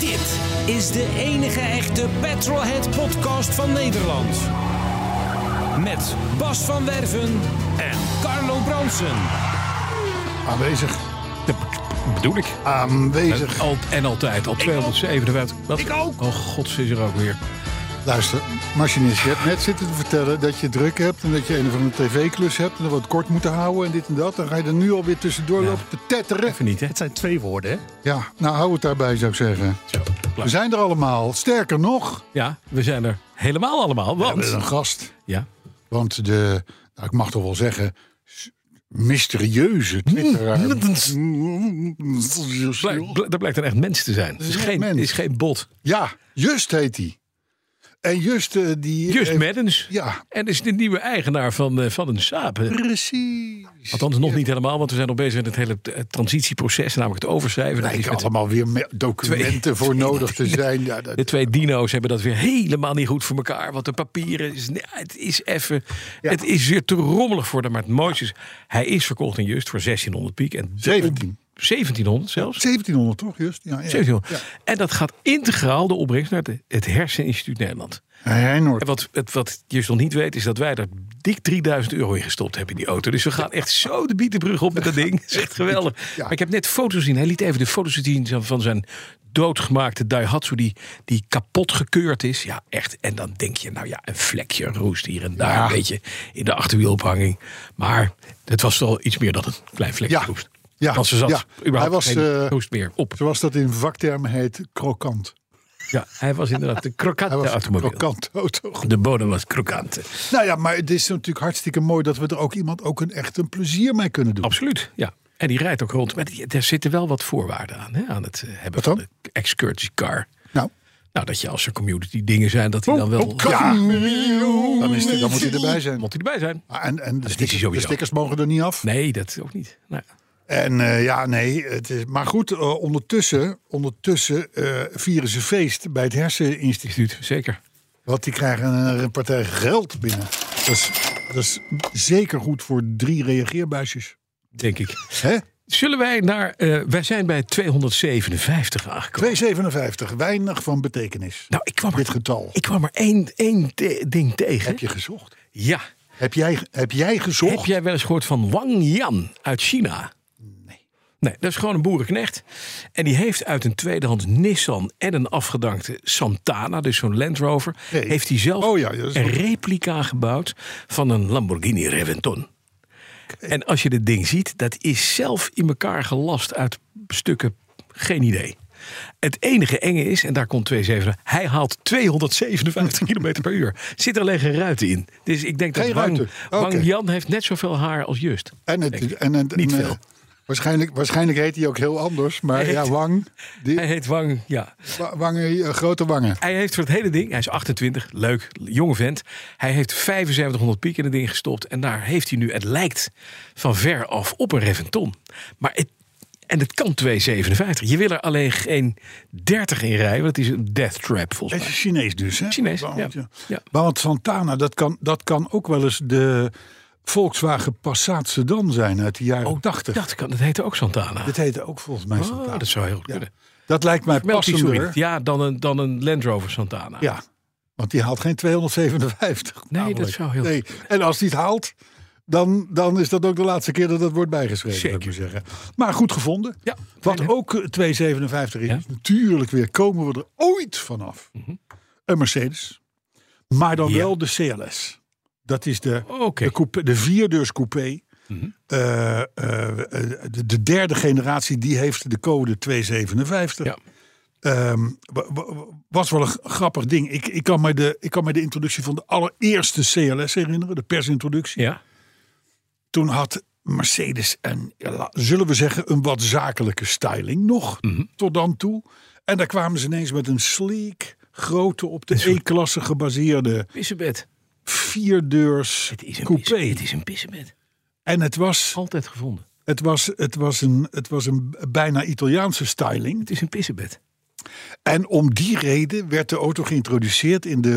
Dit is de enige echte Petrolhead podcast van Nederland. Met Bas van Werven en Carlo Bronsen. Aanwezig. Bedoel ik. Aanwezig. Al, en altijd, al 257. Wat? Ik ook. Oh god, ze is er ook weer. Luister, machinist, je hebt net zitten te vertellen dat je druk hebt... en dat je een of andere tv-klus hebt en dat we het kort moeten houden en dit en dat. Dan ga je er nu alweer tussendoor lopen te tetteren. Even niet, hè? Het zijn twee woorden, hè? Ja, nou hou het daarbij, zou ik zeggen. Zo, We klaar. zijn er allemaal. Sterker nog, Ja, we zijn er helemaal allemaal. we hebben Want... een gast. Ja, Want de, nou, ik mag toch wel zeggen... s- mysterieuze twitteraar. blijk- bl- er blijkt een echt mens te zijn. Het is Een geen, mens. is geen bot. Ja, Just heet hij. En Just eh, die... Just heeft- Maddens. Ja, En is de nieuwe eigenaar van, eh, van een saap. precies. Althans, nog niet helemaal, want we zijn nog bezig met het hele eh, transitieproces, namelijk het overschrijven. Daar Dat is blijken met- allemaal weer me- documenten voor nodig te zijn. Ja, De dat, twee dino's hebben dat weer helemaal niet goed voor elkaar. Want de papieren, is, nee, het is even, het is weer te rommelig voor hem. Maar het mooiste is, hij is verkocht in Just voor 1600 piek. En de- 17. 1700 zelfs. 1700 toch, Just? Ja, ja. 1700. En dat gaat integraal de opbrengst naar de- het Herseninstituut Nederland. Ja, Heinoord. En wat, het, wat Just nog niet weet, is dat wij daar dik 3000 euro in gestopt hebben in die auto. Dus we gaan echt zo de bietenbrug op met dat ding. Het is echt geweldig. Ja. Maar ik heb net foto's gezien. Hij liet even de foto's zien van- van zijn doodgemaakte Daihatsu die, die kapot gekeurd is. Ja, echt. En dan denk je, nou ja, een vlekje roest hier en daar. Ja. Een beetje in de achterwielophanging. Maar het was wel iets meer dan een klein vlekje Ja. roest. Ja. Want ze zat Ja. überhaupt Hij was, geen eh, roest meer op. Zoals dat in vaktermen heet, krokant. Ja, hij was inderdaad een Hij krokante was een automobiel. krokant auto. De bodem was krokant. Nou ja, maar het is natuurlijk hartstikke mooi dat we er ook iemand ook een echt een plezier mee kunnen doen. Absoluut, ja. En die rijdt ook rond. Maar die, er zitten wel wat voorwaarden aan, hè, aan het eh, hebben Wat dan? van de excursie car. Nou, Nou, dat je als er community dingen zijn, dat Oh, die dan wel... ja, dan, is het, dan moet hij erbij zijn. Moet hij erbij zijn? Ah, En, en de, is stickers, sowieso. de stickers mogen er niet af. Nee, dat ook niet. Nou, En eh, ja, nee, het is, maar goed, eh, ondertussen, ondertussen eh, vieren ze feest bij het Herseninstituut. instituut, zeker. Want die krijgen een, een partij geld binnen. Dat is, dat is zeker goed voor drie reageerbuisjes. Denk ik. Hè? Zullen wij naar... eh, wij zijn bij 257 aangekomen. 2,57. Weinig van betekenis. Nou, ik kwam Dit er, getal. ik kwam er één, één te- ding tegen. Heb je gezocht? Ja. Heb jij, heb jij gezocht? Heb jij wel eens gehoord van Wang Yan uit China? Nee, dat is gewoon een boerenknecht. En die heeft uit een tweedehands Nissan en een afgedankte Santana, dus zo'n Land Rover, Nee. heeft hij zelf Oh ja, dat is een wel- replica gebouwd van een Lamborghini Reventon. En als je dit ding ziet, dat is zelf in elkaar gelast uit stukken, geen idee. Het enige enge is, en daar komt 257, hij haalt 257 km per uur. Zit er alleen geen ruiten in. Dus ik denk dat Geen Wang, ruiten. Wang Oké. Jan heeft net zoveel haar als Just. En het, Denk ik. en het, Niet en, eh, veel. Waarschijnlijk, waarschijnlijk heet hij ook heel anders. Maar Hij ja, heet- Wang. Die, Hij heet Wang, ja. wa- wangen, eh, grote wangen. Hij heeft voor het hele ding, hij is 28, leuk, jonge vent. Hij heeft 7500 piek in het ding gestopt. En daar heeft hij nu, het lijkt van ver af op een Reventon. Maar het, en het kan 257. Je wil er alleen geen 30 in rijden, want het is een death trap Het volgens mij. is Chinees dus, hè? Chinees, Want, ja. Ja. Want Santana, dat kan, dat kan ook wel eens de Volkswagen Passat sedan zijn uit de jaren 80. Oh, Dat, kan, dat heette ook Santana. Dit heette ook volgens mij Oh, Santana. dat zou heel goed Ja. kunnen. Dat lijkt mij Meld die zo in. passender. Ja. Ja, dan een, dan een Land Rover Santana. want die haalt geen 257. Nee, namelijk. dat zou heel nee. En als die het haalt, dan, dan is dat ook de laatste keer dat dat wordt bijgeschreven. zou ik Zeker. maar zeggen. Maar goed gevonden. Ja, Wat fijn, hè? ook eh, 257 is, Ja. Mhm. is natuurlijk weer komen we er ooit vanaf. Een Mercedes. Maar dan Ja. wel de CLS. Dat is de, Oké. Mhm. de, coupe, de vierdeurs coupé. Eh, eh, eh, de, de derde generatie, die heeft de code 257. Ja. Ehm, wa- wa- wa- was wel een g- grappig ding. Ik, ik, kan mij de, ik kan mij de introductie van de allereerste CLS herinneren, de persintroductie. Ja. Toen had Mercedes en, ja, la- zullen we zeggen, een wat zakelijke styling nog Mhm. tot dan toe. En daar kwamen ze ineens met een sleek, grote, op de E-klasse gebaseerde Pissebed. vierdeurs Het is een coupé. pisse- Het is een pissebed. En het was, Altijd gevonden. het, was, het, was een, het was een bijna Italiaanse styling. Het is een pissebed. En om die reden werd de auto geïntroduceerd in, de,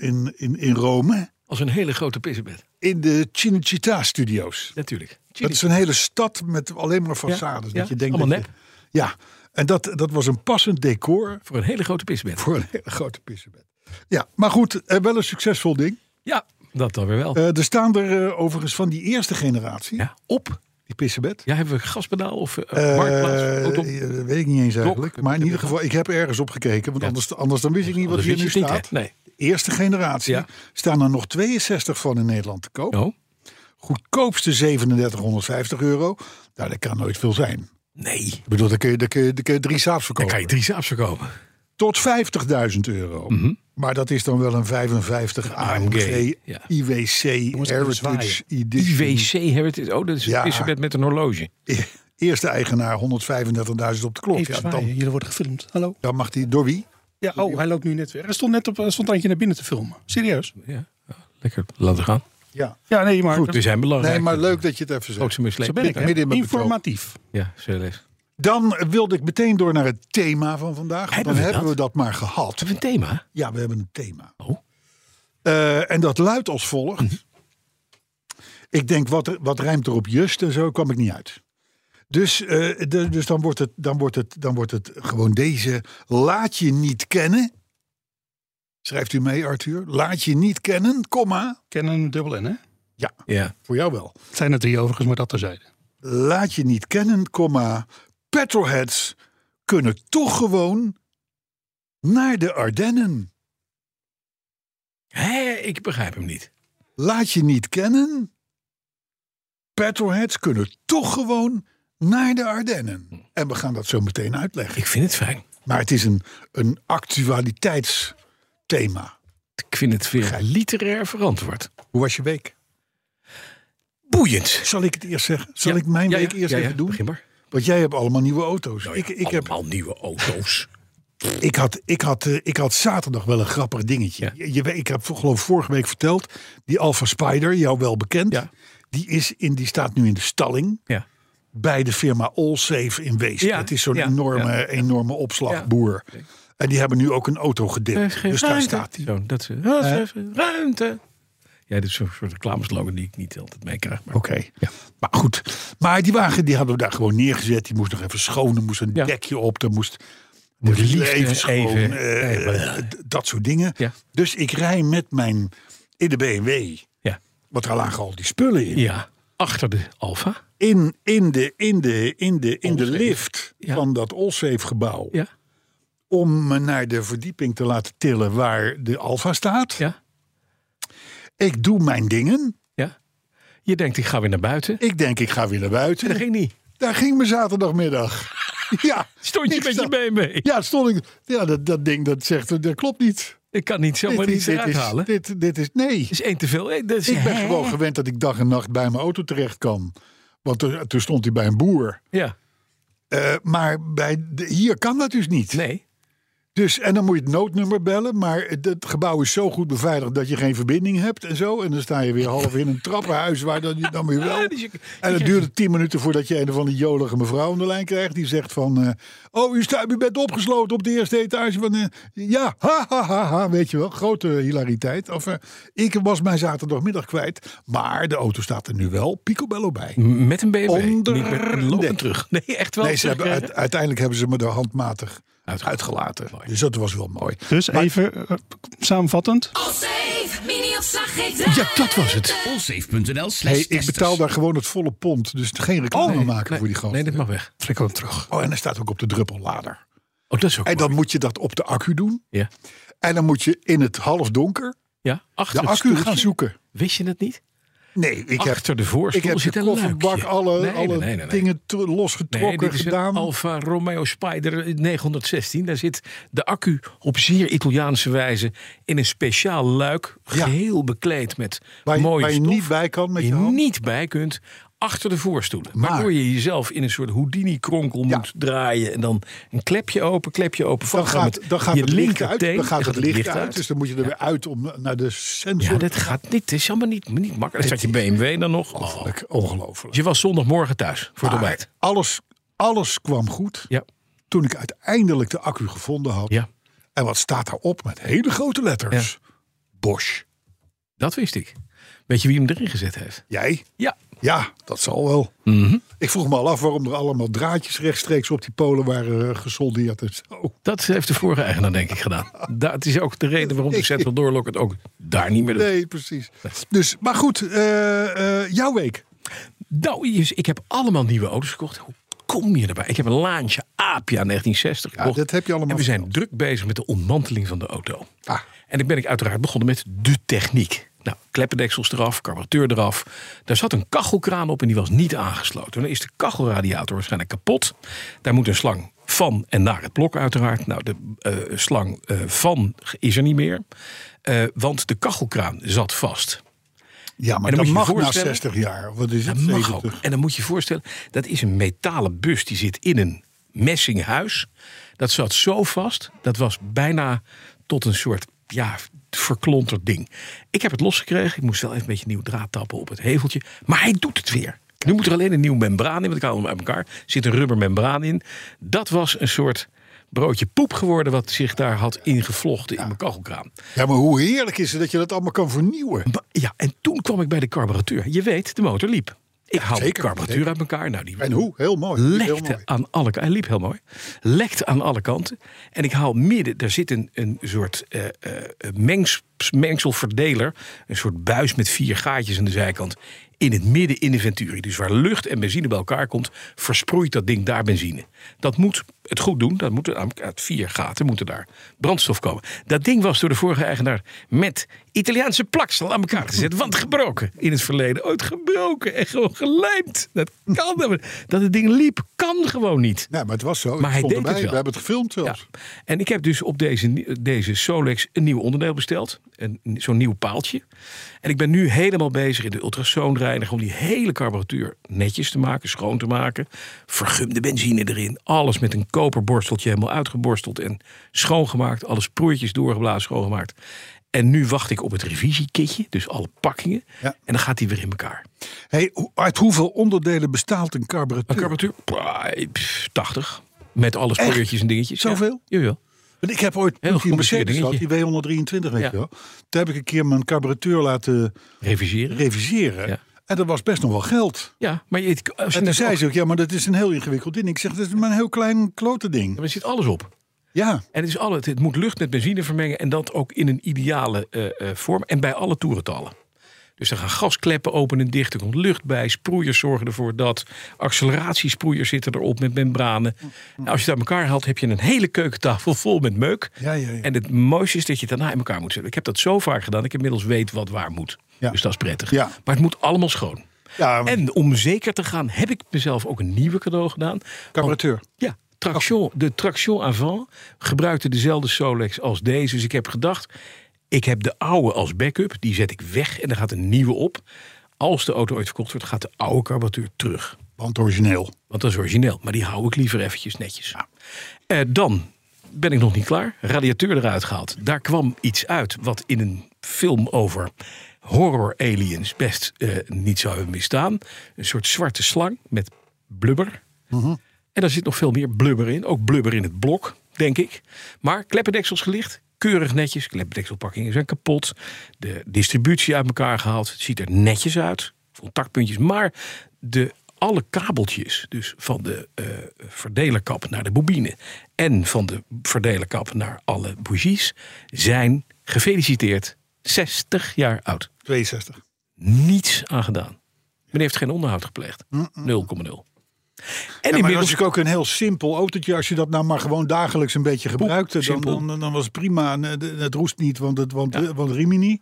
eh, in, in, in Rome. Als een hele grote pissebed. In de Cinecittà-studio's. Natuurlijk. Dat is een hele stad met alleen maar façades. Ja, dat ja, je denkt allemaal dat je- ja, en dat, dat was een passend decor Voor een hele grote pissebed. voor een hele grote pissebed. Ja, maar goed, eh, wel een succesvol ding. Ja, dat dan weer wel. Eh, er staan er eh, overigens van die eerste generatie, Ja, op. die pissebed. Ja, hebben we gaspedaal of eh, Eh, marktplaats? auto? eh, weet ik niet eens eigenlijk. Maar in ieder geval, ik heb ergens op gekeken. Want Ja. anders, anders dan wist ik niet wat Anders hier nu wist je het niet, staat. hè? Nee. De eerste generatie. Ja. Staan er nog 62 van in Nederland te koop. Oh, Goedkoopste 3750 euro. Nou, dat kan nooit veel zijn. nee. Ik bedoel, dan kun je, dan kun je, dan kun je drie saafs Dan verkopen. kan je drie saaps verkopen. Tot 50.000 euro. Mhm. Maar dat is dan wel een 55 AMG, ja. IWC Heritage Edition. IWC Heritage. Oh, dat is Ja. een pissebed met een horloge. E- Eerste eigenaar 135.000 op de klok. Even Ja, zwaaien, dan, jullie worden gefilmd. Hallo. dan mag hij door wie? Ja, oh, hij loopt nu net weer. Hij stond net op een standje naar binnen te filmen. Serieus? Ja. ah, Lekker, laten gaan. Ja. Ja, nee, maar Goed, we zijn belangrijk. Nee, maar leuk dat je het even Ook zegt. ze mislepen. zo ben ik. hè. dus- Midden in mijn Informatief. Ja, serieus. Dan wilde ik meteen door naar het thema van vandaag. want Hebben dan we hebben dat? we dat maar gehad. Hebben we een thema? Ja, we hebben een thema. Oh. Mhm. Eh, en dat luidt als volgt. Ik denk, wat, er- wat rijmt er op just en zo, kwam ik niet uit. Dus, eh, de- dus dan, wordt het, dan, wordt het, dan wordt het gewoon deze. Laat je niet kennen. Schrijft u mee, Arthur. Laat je niet kennen, komma. Kennen een dubbel N, hè? Ja, Ja. voor jou wel. Het zijn er drie overigens, maar dat terzijde. Laat je niet kennen, komma. Petrolheads kunnen toch gewoon naar de Ardennen. Hé, ik begrijp hem niet. Laat je niet kennen. Petrolheads kunnen toch gewoon naar de Ardennen. En we gaan dat zo meteen uitleggen. Ik vind het fijn. Maar het is een, een actualiteitsthema. Ik vind het weer literair verantwoord. Hoe was je week? Boeiend. Zal ik het eerst zeggen? Zal Ja, ik mijn ja, ja, week eerst ja, ja, even doen? Begin maar. Want jij hebt allemaal nieuwe auto's. ik, ik, heb, Nou Allemaal nieuwe auto's. ik, had, ik, had, eh, ik had zaterdag wel een grappig dingetje. Ja. Je, je weet- ik heb geloof vorige week verteld. Die Alfa Spider, jou wel bekend. Ja. Die, is in, die staat nu in de stalling. ja. bij de firma Allsafe in Wees. Ja, Dat is zo'n ja, enorme, ja. enorme opslagboer. En die hebben nu ook een auto Er gedeeld. is geen Dus daar ruimte. staat hij. Zo, dat is, er is even ruimte. Ja, dit is zo'n soort reclameslogan die ik niet altijd meekrijg. maar- Oké, maar goed. Maar die wagen die hadden we daar gewoon neergezet. Die moest nog even schoon. Er moest een Ja. dekje op. Er moest de Moet wielen liefde even schoon. even- eh, even- d- dat soort dingen. Ja. Dus ik rij met mijn in de BMW. Ja. Want daar lagen al die spullen in. ja. Achter de Alfa. In, in de, in de, in de, in de Allsafe. lift Ja. van dat Allsafe gebouw. Ja. om me naar de verdieping te laten tillen waar de Alfa staat. Ja. Ik doe mijn dingen. Ja. Je denkt, ik ga weer naar buiten. Ik denk, ik ga weer naar buiten. Dat ging niet. Daar ging mijn zaterdagmiddag. ja. Stond je Ik met je sta- BMW? Ja, stond ik. Ja, dat, dat ding dat zegt, dat klopt niet. Ik kan niet zomaar dit, niet dit eruit is, halen. Dat Dit, dit is, nee. is één te veel. Eh, Dat is, Ik ben Hè? gewoon gewend dat ik dag en nacht bij mijn auto terecht kan. Want er- toen stond hij bij een boer. Ja. Eh, maar bij de- hier kan dat dus niet. Nee. Dus, en dan moet je het noodnummer bellen. Maar het, het gebouw is zo goed beveiligd dat je geen verbinding hebt en zo. En dan sta je weer half in een trappenhuis waar dan, je dan weer wel. Ah, dus je- En het duurde tien minuten voordat je een van die jolige mevrouw aan de lijn krijgt. Die zegt van, eh, oh u, staat, u bent opgesloten op de eerste etage. Van, eh, ja, ha, ha, ha, ha, weet je wel. Grote hilariteit. Of, eh, ik was mijn zaterdagmiddag kwijt. Maar de auto staat er nu wel picobello bij. M- Met een BMW. Onder Niet met- een lopen dek. terug. Nee, echt wel. Nee, ze hebben, terug, uit- uiteindelijk hebben ze me er handmatig Uitgelaten. uitgelaten. Mooi. Dus dat was wel mooi. Dus even eh, samenvattend. Allsafe, mini-opslag geeft eh. Ja, dat was het. Allsafe.nl Hey, slash ik betaal daar gewoon het volle pond. Dus geen reclame maken dus- Oh, Nee, voor die gast. Nee, dat mag weg. Trek hem terug. Oh, en hij staat ook op de druppellader. Oh, dat is ook En dan mooi. moet je dat op de accu doen. Ja. En dan moet je in het halfdonker Ja, achter de het accu gaan stoeltje. zoeken. Wist je dat niet? Nee, ik heb, achter de ik voorstoel heb zit de een kofferbak luikje. alle, Nee, alle nee, nee, nee. dingen to- Nee, losgetrokken dit is een gedaan. Alfa Romeo Spider 916. Daar zit de accu op zeer Italiaanse wijze in een speciaal luik. Ja. Geheel bekleed met waar je, mooie waar je stof. niet bij kan met je die hand. niet bij kunt. achter de voorstoelen. Maar- Waardoor je jezelf in een soort Houdini-kronkel Ja. moet draaien. En dan een klepje open, klepje open. Dan vastgaan gaat, met dan gaat je het licht linkerteen. uit. Dan gaat het licht uit. Dus dan moet je er Ja. weer uit om naar de sensor. Ja, dat gaat niet. Het is allemaal niet, niet makkelijk. Dan staat je BMW dan nog. Oh. Ongelooflijk. Je was zondagmorgen thuis voor het Maar ontbijt. Alles, alles kwam goed. Ja. Toen ik uiteindelijk de accu gevonden had. ja, En wat staat daarop met hele grote letters? Bosch. dat wist ik. Weet je wie hem erin gezet heeft? Jij? Ja. Ja, dat zal wel. Mhm. Ik vroeg me al af waarom er allemaal draadjes rechtstreeks op die polen waren eh, gesoldeerd. En zo. Oh. Dat heeft de vorige eigenaar denk ik gedaan. Dat is ook de reden waarom de Central Doorlok het ook daar niet meer doet. Nee, precies. Dus, maar goed, eh, eh, jouw week. Nou, Iris, ik heb allemaal nieuwe auto's gekocht. Hoe kom je erbij? Ik heb een Laantje Apia 1960 gekocht. dat heb je allemaal En we zijn verteld. druk bezig met de ontmanteling van de auto. Ah. En ik ben ik uiteraard begonnen met de techniek. Nou, kleppendeksels eraf, carburateur eraf. Daar zat een kachelkraan op en die was niet aangesloten. Dan is de kachelradiator waarschijnlijk kapot. Daar moet een slang van en naar het blok uiteraard. Nou, de eh, slang eh, van is er niet meer. Eh, want de kachelkraan zat vast. Ja, maar En dat dan moet je mag je na voorstellen- 60 jaar. Wat is het? Dat mag ook. 70? En dan moet je je voorstellen, dat is een metalen bus. Die zit in een messinghuis. Dat zat zo vast, dat was bijna tot een soort ja, verklonterd ding. Ik heb het losgekregen. Ik moest wel even een beetje nieuw draad tappen op het heveltje. Maar hij doet het weer. Nu moet er alleen een nieuwe membraan in, want ik haal hem uit elkaar. Er zit een rubber membraan in. Dat was een soort broodje poep geworden... wat zich daar had ingevlochten in mijn kachelkraan. Ja, maar hoe heerlijk is het dat je dat allemaal kan vernieuwen? Maar- Ja, en toen kwam ik bij de carburateur. Je weet, de motor liep. Ik haal de zeker, carburateur zeker. uit elkaar. Nou, die En hoe? Heel mooi. Heel lekte mooi. aan alle kanten. Hij liep heel mooi. Lekte aan alle kanten. En ik haal midden, daar zit een, een soort eh, eh, mengs, mengselverdeler. Een soort buis met vier gaatjes aan de zijkant. In het midden in de venturi. Dus waar lucht en benzine bij elkaar komt, versproeit dat ding daar benzine. Dat moet het goed doen. Dat moet namelijk uit vier gaten moeten daar brandstof komen. Dat ding was door de vorige eigenaar met Italiaanse plaksel aan elkaar gezet. Want gebroken in het verleden. Ooit gebroken en gewoon gelijmd. Dat kan helemaal- Dat het ding liep, kan gewoon niet. Ja, maar het was zo. Maar Ik hij stond deed het erbij. wel. We hebben het gefilmd Ja. zelfs. En ik heb dus op deze, nie- deze Solex een nieuw onderdeel besteld. Een, zo'n nieuw paaltje. En ik ben nu helemaal bezig in de ultrasoonreiniger... om die hele carburateur netjes te maken, schoon te maken. Vergumde benzine erin. Alles met een koperborsteltje helemaal uitgeborsteld en schoongemaakt. Alle sproeitjes doorgeblazen, schoongemaakt. En nu wacht ik op het revisiekitje, dus alle pakkingen. Ja. En dan gaat die weer in elkaar. Hey, hoe- uit hoeveel onderdelen bestaat een Een carburateur? carburateur, pff, 80. Met alle sproeitjes en dingetjes. Ja. Zoveel? Jawel. Want ik heb ooit Heel toen ik in gecompliceerd Mercedes had, die W123, weet Ja. je wel. Toen heb ik een keer mijn carburateur laten Reviseren. reviseren. Ja. En dat was best nog wel geld. Ja, maar je, als je En toen net zei ook- ze ook, ja, maar dat is een heel ingewikkeld ding. Ik zeg, dat is maar een heel klein klote ding. maar er zit alles op. Ja, En het, is alle, het moet lucht met benzine vermengen en dat ook in een ideale eh, eh, vorm. En bij alle toerentallen. Dus er gaan gaskleppen open en dicht, er komt lucht bij. Sproeiers zorgen ervoor dat. Acceleratiesproeiers zitten erop met membranen. Mm, Nou, als je het uit elkaar haalt, heb je een hele keukentafel vol met meuk. Ja, ja, ja. En het mooiste is dat je het daarna in elkaar moet zetten. Ik heb dat zo vaak gedaan, ik inmiddels weet wat waar moet. Ja. Dus dat is prettig. Ja. Maar het moet allemaal schoon. ja en, En om zeker te gaan, heb ik mezelf ook een nieuwe cadeau gedaan. Want carburateur. Ja, traction, de traction avant gebruikte dezelfde Solex als deze. Dus ik heb gedacht, ik heb de oude als backup. Die zet ik weg en er gaat een nieuwe op. Als de auto ooit verkocht wordt, gaat de oude carburateur terug. Want origineel. Want dat is origineel. Maar die hou ik liever eventjes netjes. Eh, dan ben ik nog niet klaar. Radiateur eruit gehaald. Daar kwam iets uit wat in een film over horror aliens best eh, niet zou hebben misstaan. Een soort zwarte slang met blubber. En daar zit nog veel meer blubber in. Ook blubber in het blok, denk ik. Maar kleppendeksels gelicht. Keurig netjes. Kleppendekselpakkingen zijn kapot. De distributie uit elkaar gehaald. Het ziet er netjes uit. Contactpuntjes. Maar de, alle kabeltjes, dus van de eh, verdelerkap naar de bobine... en van de verdelerkap naar alle bougies... zijn gefeliciteerd 60 jaar oud. 62. Niets aan gedaan. Men heeft geen onderhoud gepleegd. 0,0. En Ja, maar dat inmiddels is ook een heel simpel autootje. Als je dat nou maar gewoon dagelijks een beetje gebruikte, dan, simpel. dan, dan was het prima. En, eh, Het roest niet, want, het, want, eh, want Rimini.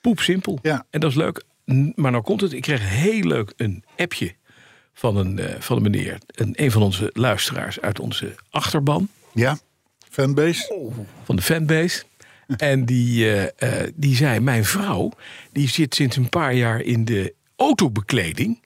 poepsimpel. Ja. En dat is leuk. N- Maar nou komt het. Ik kreeg heel leuk een appje van een, eh, van een meneer. Een, een van onze luisteraars uit onze achterban. Ja, Oh. fanbase. Van de fanbase. En die, eh, eh, die zei, mijn vrouw die zit sinds een paar jaar in de autobekleding.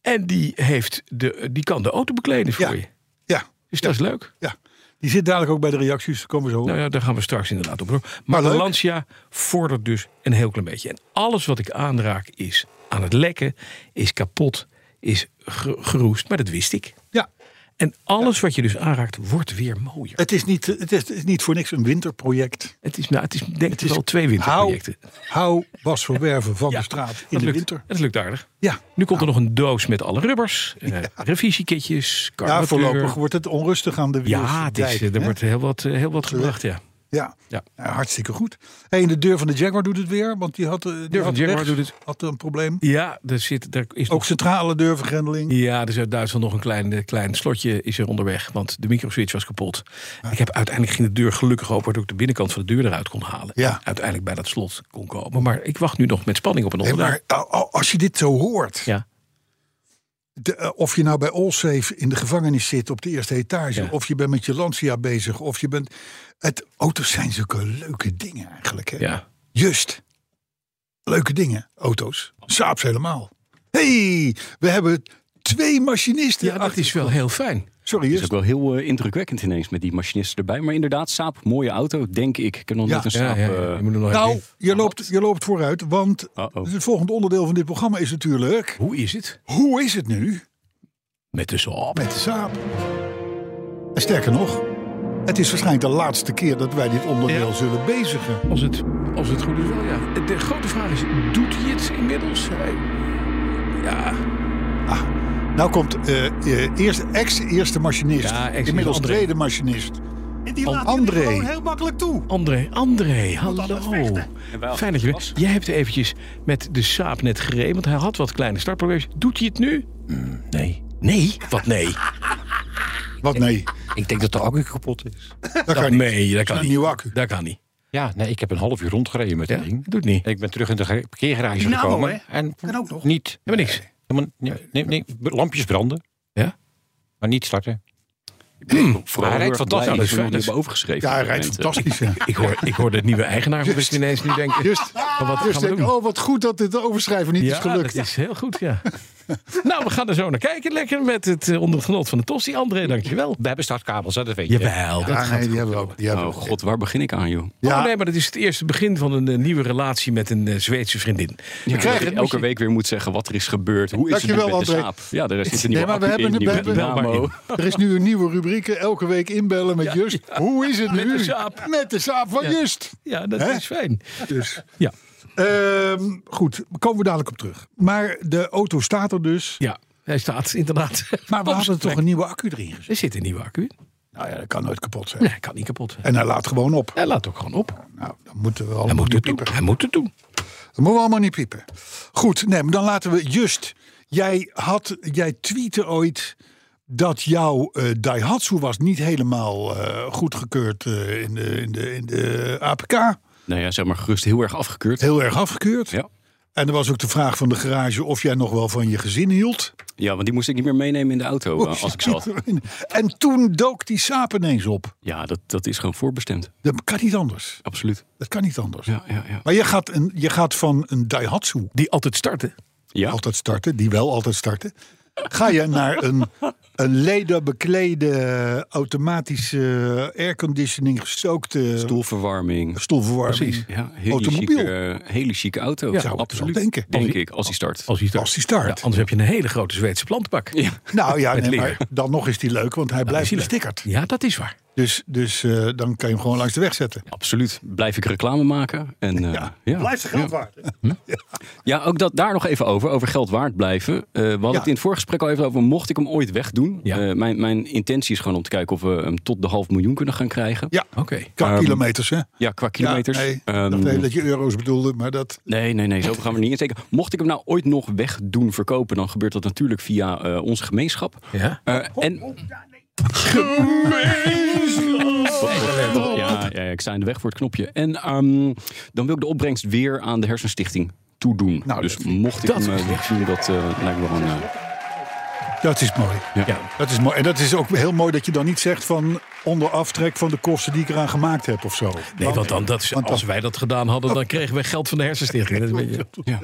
En die, heeft de, die kan de auto bekleden voor Ja. je. Ja, Dus dat is leuk. ja. Die zit dadelijk ook bij de reacties. Daar komen we zo op. Nou ja, daar gaan we straks inderdaad op. door. Maar, leuk. de Lancia vordert dus een heel klein beetje. En alles wat ik aanraak is aan het lekken, is kapot, is ge- geroest. Maar dat wist ik. Ja, En alles wat je dus aanraakt, wordt weer mooier. het is, niet, het, is, het is niet voor niks een winterproject. Het is, nou, het is denk ik is- wel twee winterprojecten. Hou Bas van Werven van Ja, de straat in dat de lukt. winter. Dat lukt aardig. Ja. Nu komt er nog een doos met alle rubbers, eh revisiekitjes, Ja, carburateur. voorlopig wordt het onrustig aan de Ja, het is, Wiersdijk, eh, er hè? wordt heel wat, eh, heel wat gebracht, ja. Ja. Ja. Ja, hartstikke goed. Hey, en de deur van de Jaguar doet het weer, want die had, eh, die van had de Jaguar rechts- doet het. had een probleem. Ja, er, zit, er is Ook centrale deurvergrendeling. Ja, dus uit Duitsland nog een klein, eh, klein slotje is er onderweg. Want de microswitch was kapot. Ah. Ik heb uiteindelijk ging de deur gelukkig open, waardoor ik de binnenkant van de deur eruit kon halen. Ja. En uiteindelijk bij dat slot kon komen. Maar ik wacht nu nog met spanning op een Hey, onderwerp. maar al- al- als je dit zo hoort, Ja, de, eh, of je nou bij Allsafe in de gevangenis zit op de eerste etage, Ja. of je bent met je Lancia bezig, of je bent. Het, auto's zijn zulke leuke dingen eigenlijk. Hè? ja. Just. Leuke dingen, auto's. Saaps helemaal. hey, we hebben twee machinisten. ja, dat achter- is wel heel fijn. Sorry, is Just. ook wel heel eh, indrukwekkend ineens met die machinisten erbij. Maar inderdaad, Saab, mooie auto, denk ik. Ik heb nog Ja. niet een Ja, Saab... ja, eh ja. Je moet er nog Nou, even- je loopt, je loopt vooruit, want Uh-oh. het volgende onderdeel van dit programma is natuurlijk... Hoe is het Hoe is het nu met de Saab? met de Saab? En sterker nog, het is waarschijnlijk de laatste keer dat wij dit onderdeel Ja. zullen bezigen. Als het, als het goed is wel, ja. De grote vraag is, doet hij het inmiddels? Hij- Ja, Nou komt eh, eh, eerst ex-eerste machinist, Ja, ex-eerste inmiddels André. tweede machinist. En die Van laat jullie André. gewoon heel makkelijk toe. André, André, altijd hallo. vechten. Fijn dat je bent. Jij hebt eventjes met de saap net gereden, want hij had wat kleine startproblemen. Doet hij het nu? Mm, nee. Nee? Wat nee? Wat nee, Ik denk dat de accu kapot is. dat kan niet. nee, dat kan Een niet. nieuwe accu. Dat kan niet. Ja, nee, ik heb een half uur rondgereden met Ja, dat ding. doet niet. Ik ben terug in de ge- parkeergarage Dynamo, gekomen. hè? En Kan ook nog. niet. Helemaal niks. Helemaal, nee, nee, nee, lampjes branden. Ja? Maar niet starten. Vooral Hij rijdt heel erg fantastisch. blij dat we Ja, dat nog niet is- hebben overgeschreven. Ja, hij op dit rijdt moment. fantastisch. hè. Ik hoor, ik hoor de nieuwe eigenaar van West ineens nu denken. Just, Maar wat just gaan we denk, doen? oh wat goed dat dit overschrijven niet is gelukt. dat is heel goed, ja. nou, we gaan er zo naar kijken. Lekker met het eh, onder het genot van de Tossie. André, dankjewel. We hebben startkabels, hè, dat weet je. Jawel. dat Ja, gaat nee, die hebben we ook. Die hebben Oh we ook. god, waar begin ik aan, joh? Ja, Oh nee, maar dat is het eerste begin van een eh, nieuwe relatie met een eh, Zweedse vriendin. Ja, krijgen dat ik het, elke moet je- week weer moet zeggen wat er is gebeurd. Hoe is Dankjewel, het nu met de André. Saab? Ja, daar zit een Nee, nieuwe maar we accu hebben in, het- we nieuwe hebben- dynamo. er is nu een nieuwe rubriek. hè. Elke week inbellen met Just. Hoe is het Met nu? de Saab. Met de saap van Just. Ja, dat Hè? is fijn. Dus. Ja. Ehm, goed, komen we dadelijk op terug. Maar de auto staat er dus. Ja, hij staat inderdaad. Maar we op hadden zijn toch plek. een nieuwe accu erin gezet. Er zit een nieuwe accu in. Nou ja, dat kan nooit kapot zijn. Nee, hij kan niet kapot. En hij laat gewoon op. Hij laat ook gewoon op. Nou, dan moeten we allemaal Hij moet niet het doen. piepen. Hij moet het doen. Dat moeten we allemaal niet piepen. Goed, nee, maar dan laten we just. Jij, had, jij tweette ooit dat jouw eh, Daihatsu was niet helemaal eh, goedgekeurd eh, in, de, in, de, in de APK. Nou ja, zeg maar gerust heel erg afgekeurd. Heel erg afgekeurd. Ja. En er was ook de vraag van de garage of jij nog wel van je gezin hield. ja, want die moest ik niet meer meenemen in de auto Oh, eh, als ik zat. En toen dook die saap ineens op. Ja, dat, dat is gewoon voorbestemd. Dat kan niet anders. Absoluut. Dat kan niet anders. Ja, ja, ja. Maar je gaat, een, je gaat van een Daihatsu Die altijd starten. ja. altijd starten, die wel altijd starten. Ga je naar een, een lederbeklede, automatische airconditioning gestookte Stoelverwarming. stoelverwarming. Ja, hele Automobiel. chique, eh, hele chique auto. Zou ik absoluut. wel denken. Denk ik, als hij start. Als hij start. Als die start. Ja, anders heb je een hele grote Zweedse plantbak. Ja. Nou ja, nee, leer. maar dan nog is die leuk, want hij blijft is hij leuk. bestickerd. Ja, dat is waar. Dus, dus eh, dan kan je hem gewoon langs de weg zetten. Absoluut. Blijf ik reclame maken. En, eh, ja. Ja. Blijft zijn geld waard. ook dat, daar nog even over. Over geld waard blijven. Eh, we hadden Ja. het in het vorige gesprek al even over. Mocht ik hem ooit wegdoen. Ja. Eh, mijn, mijn intentie is gewoon om te kijken of we hem tot de half miljoen kunnen gaan krijgen. Ja, Oké. qua Ehm, kilometers hè. Ja, qua kilometers. Ja, nee, ik Ehm, dacht even dat je euro's bedoelde, maar dat... Nee, nee, nee, zo gaan we er niet in steken. Mocht ik hem nou ooit nog weg doen verkopen, dan gebeurt dat natuurlijk via eh, onze gemeenschap. Ja. Eh, en... Gemeenschap! Ja, ja, ja, ik sta in de weg voor het knopje. En ehm, dan wil ik de opbrengst weer aan de Hersenstichting toedoen. Nou, dus dat- mocht ik dat hem is eh, wegdoen, dat eh, lijkt me wel een... eh, Dat is mooi. ja. Ja. Dat is mooi. En dat is ook heel mooi dat je dan niet zegt van... onder aftrek van de kosten die ik eraan gemaakt heb of zo. Nee, want dan, dat, want als wij dat gedaan hadden, dan kregen we geld van de hersenstichting. Dat is een beetje, ja.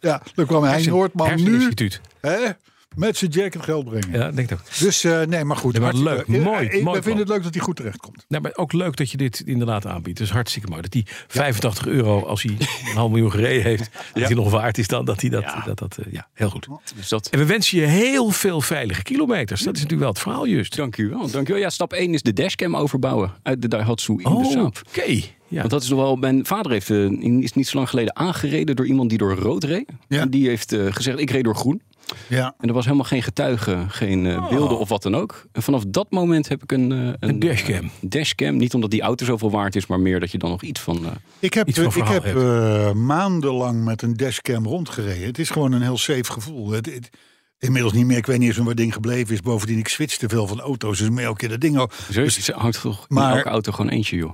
Ja, dan kwam hij Noordman nu Herseninstituut. hè, met zijn jacket geld brengen. Ja, denk ik ook. Dus eh, nee, maar goed. Ja, maar hartstikke leuk. leuk. Mooi, Ik, ik mooi vind plan. het leuk dat hij goed terechtkomt. Nou, maar ook leuk dat je dit inderdaad aanbiedt. Dat is hartstikke mooi. Dat die 85 euro, als hij een half miljoen gereden heeft, dat hij nog waard is dan dat hij dat. dat, dat eh, ja, heel goed. Dus dat, En we wensen je heel veel veilige kilometers. Dat is natuurlijk wel het verhaal juist. dank u wel. Dank u wel. Ja, stap 1 is de dashcam overbouwen uit de Daihatsu in de Oh, Saab. oké. Ja. Want dat is nog wel. Mijn vader heeft, eh, in- is niet zo lang geleden aangereden door iemand die door rood reed. Ja. En die heeft eh, gezegd: ik reed door groen. Ja. En er was helemaal geen getuige, geen eh, beelden of wat dan ook. En vanaf dat moment heb ik een, eh, een, Oh. Een dashcam. dashcam. Niet omdat die auto zoveel waard is, maar meer dat je dan nog iets van. eh, Ik heb, Iets van ik verhaal heb heeft. eh, maandenlang met een dashcam rondgereden. Het is gewoon een heel safe gevoel. Het, het- inmiddels niet meer. Ik weet niet eens hoe dat ding gebleven is. Bovendien, ik switch te veel van auto's. Dus meer elke keer dat ding. ook. dus er hangt toch in Maar- elke auto gewoon eentje, joh.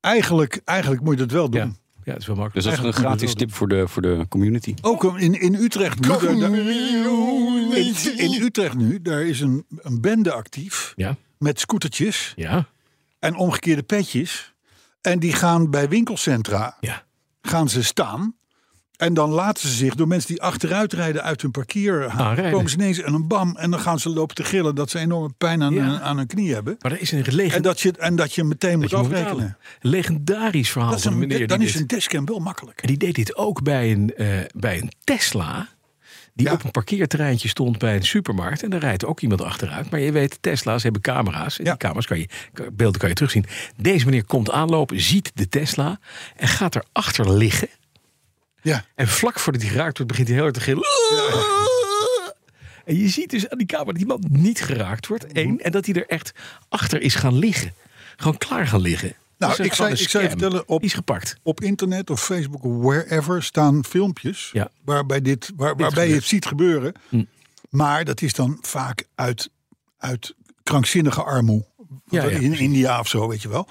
Eigenlijk, eigenlijk moet je dat wel doen. Ja. ja, dat is wel Dus makkelijk. dat is een gratis tip voor de, voor de community. Ook in, in Utrecht nu. daar- daar- in, in Utrecht nu, daar is een, een bende actief. Ja, Met scootertjes ja, en omgekeerde petjes. En die gaan bij winkelcentra ja. gaan ze staan. En dan laten ze zich door mensen die achteruit rijden uit hun parkeer halen. Aanrijden. Komen ze ineens en een bam. En dan gaan ze lopen te gillen dat ze enorme pijn aan, Ja. hun, aan hun knie hebben. Maar er is een En legend- dat je, en dat je meteen moet dat je moet afrekenen. betalen. legendarisch verhaal dat is van een een, meneer. dan die is dit- een dashcam wel makkelijk. En die deed dit ook bij een, eh, bij een Tesla. Die Ja. op een parkeerterreintje stond bij een supermarkt. En daar rijdt ook iemand achteruit. Maar je weet, Tesla's hebben camera's. En Ja. die camera's kan je, kan- beelden kan je terugzien. Deze meneer komt aanlopen, ziet de Tesla. En gaat erachter liggen. Ja. En vlak voordat hij geraakt wordt, begint hij heel hard te gillen. En je ziet dus aan die camera dat die man niet geraakt wordt. Mhm. Één. En dat hij er echt achter is gaan liggen. Gewoon klaar gaan liggen. Dat is Nou, ik gewoon zou- een ik zou je scam. vertellen, op- Die is gepakt. Op internet of Facebook of wherever staan filmpjes Ja. Hm. waarbij, dit, waar, waarbij je het ziet gebeuren. Maar dat is dan vaak uit, uit krankzinnige armoe. Ja, ja, in India of zo, weet je wel.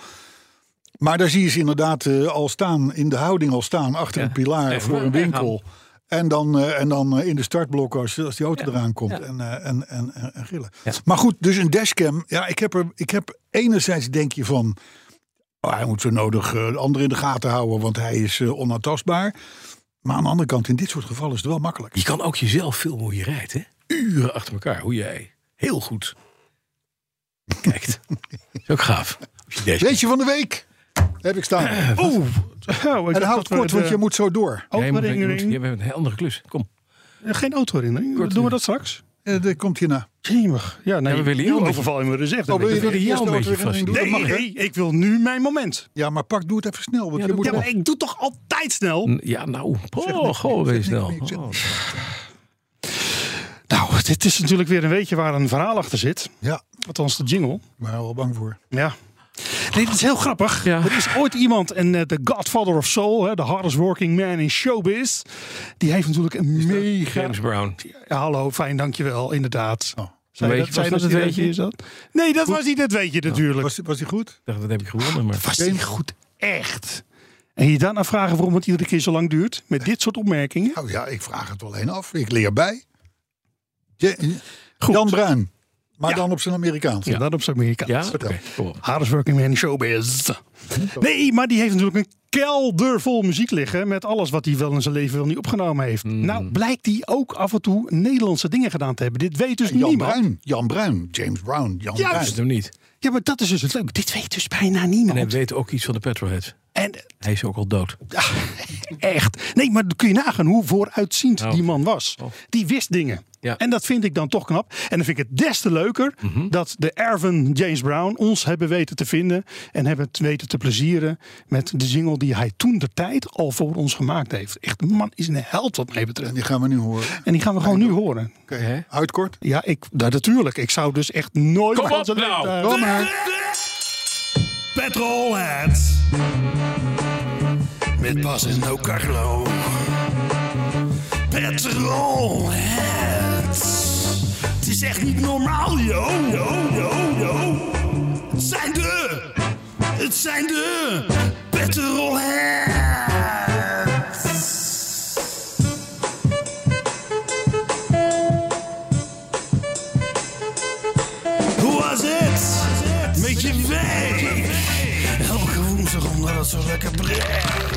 Maar daar zie je ze inderdaad eh, al staan, in de houding al staan, achter Ja. een pilaar Echt voor waar, een echt winkel. En dan, eh, en dan eh, in de startblokken als, als die auto eraan komt ja. en, eh, en, en, en, en gillen. Maar goed, dus een dashcam. Ja, ik heb er, ik heb enerzijds denk je van, Oh, hij moet zo nodig eh, de anderen in de gaten houden, want hij is eh, onaantastbaar. Maar aan de andere kant, in dit soort gevallen is het wel makkelijk. Je kan ook jezelf filmen hoe je rijdt, hè? Uren achter elkaar, hoe jij heel goed kijkt. is ook gaaf. Als je deze... Leedje van de week heb ik staan. Oeh. En hou het kort, want je moet zo door. Jij moet- je moet- Autoherinnering. je hebt een heel andere klus. Kom. Oh, Eh, Geen autoherinnering. Kort, Doen ja. we dat straks? Eh, dat komt hierna. Jemig. Ja, nee, we willen nu jou een overval je me dus echt. Oh, wil je nee, dat jou eerst een beetje auto erin doen? vasthouden. Dat nee, mag, hè? ik wil nu mijn moment. Ja, maar pak, doe het even snel. Want Ja, je doe moet Ja, het nog- maar ik doe toch altijd snel? Ja, nou. Oh, goh, wees snel. niks meer, Oh. Nou, dit is natuurlijk weer een weetje waar een verhaal achter zit. Ja, Althans, de jingle. ik ben er wel bang voor. Ja. Nee, dat is heel grappig. Ja. Er is ooit iemand, en eh, de Godfather of Soul, hè, de hardest working man in showbiz, die heeft natuurlijk een mega. James Brown. Ja, hallo, fijn, dankjewel, inderdaad. Oh. Zei Weet dat, je, zei was dat dat het die- weetje? is dat? Nee, dat was niet het weetje natuurlijk. Was, was die goed? Ik dacht, dat heb ik gewonnen. Maar... Was die goed, echt. En je daarna vragen waarom het iedere keer zo lang duurt, met dit soort opmerkingen. Nou ja, ik vraag het wel alleen af. Ik leer bij. Je- eh, Jan Bruin. Maar dan op zijn Amerikaans. Ja, dat op zijn Amerikaans. Ja? Oké, kom op. Hardest working man in showbiz. Nee, maar die heeft natuurlijk een kelder vol muziek liggen. Met alles wat hij wel in zijn leven wel niet opgenomen heeft. Hmm. Nou, blijkt hij ook af en toe Nederlandse dingen gedaan te hebben. Dit weet dus Jan niemand. Bruin. Jan Bruin. James Brown. Jan Juist. Dat is Bruin. hem niet. Ja, maar dat is dus het leuke. Dit weet dus bijna En niemand. hij weet ook iets van de Petrolheads. En Hij is ook al dood. ah, echt. Nee, maar dan kun je nagaan hoe vooruitziend die man was. Die wist dingen. Ja. En dat vind ik dan toch knap. En dan vind ik het des te leuker dat de erven James Brown ons hebben weten te vinden. En hebben het weten te plezieren met de single die hij toen de tijd al voor ons gemaakt heeft. Echt, de man is een held wat mij betreft. En die gaan we nu horen. En die gaan we gewoon nu horen. Oké. Houd kort. Ja, ik, nou, natuurlijk. Ik zou dus echt nooit... Kom op onze nou. leeftijd- Kom maar. Petrolheads. Met Bas en ook Carlo. Petrolheads. Het is echt niet normaal, yo, yo, yo, yo. Het zijn de... Het zijn de... Petrolheads. Hoe was het? Met de week. Elke woensdag omdat het zo lekker breekt.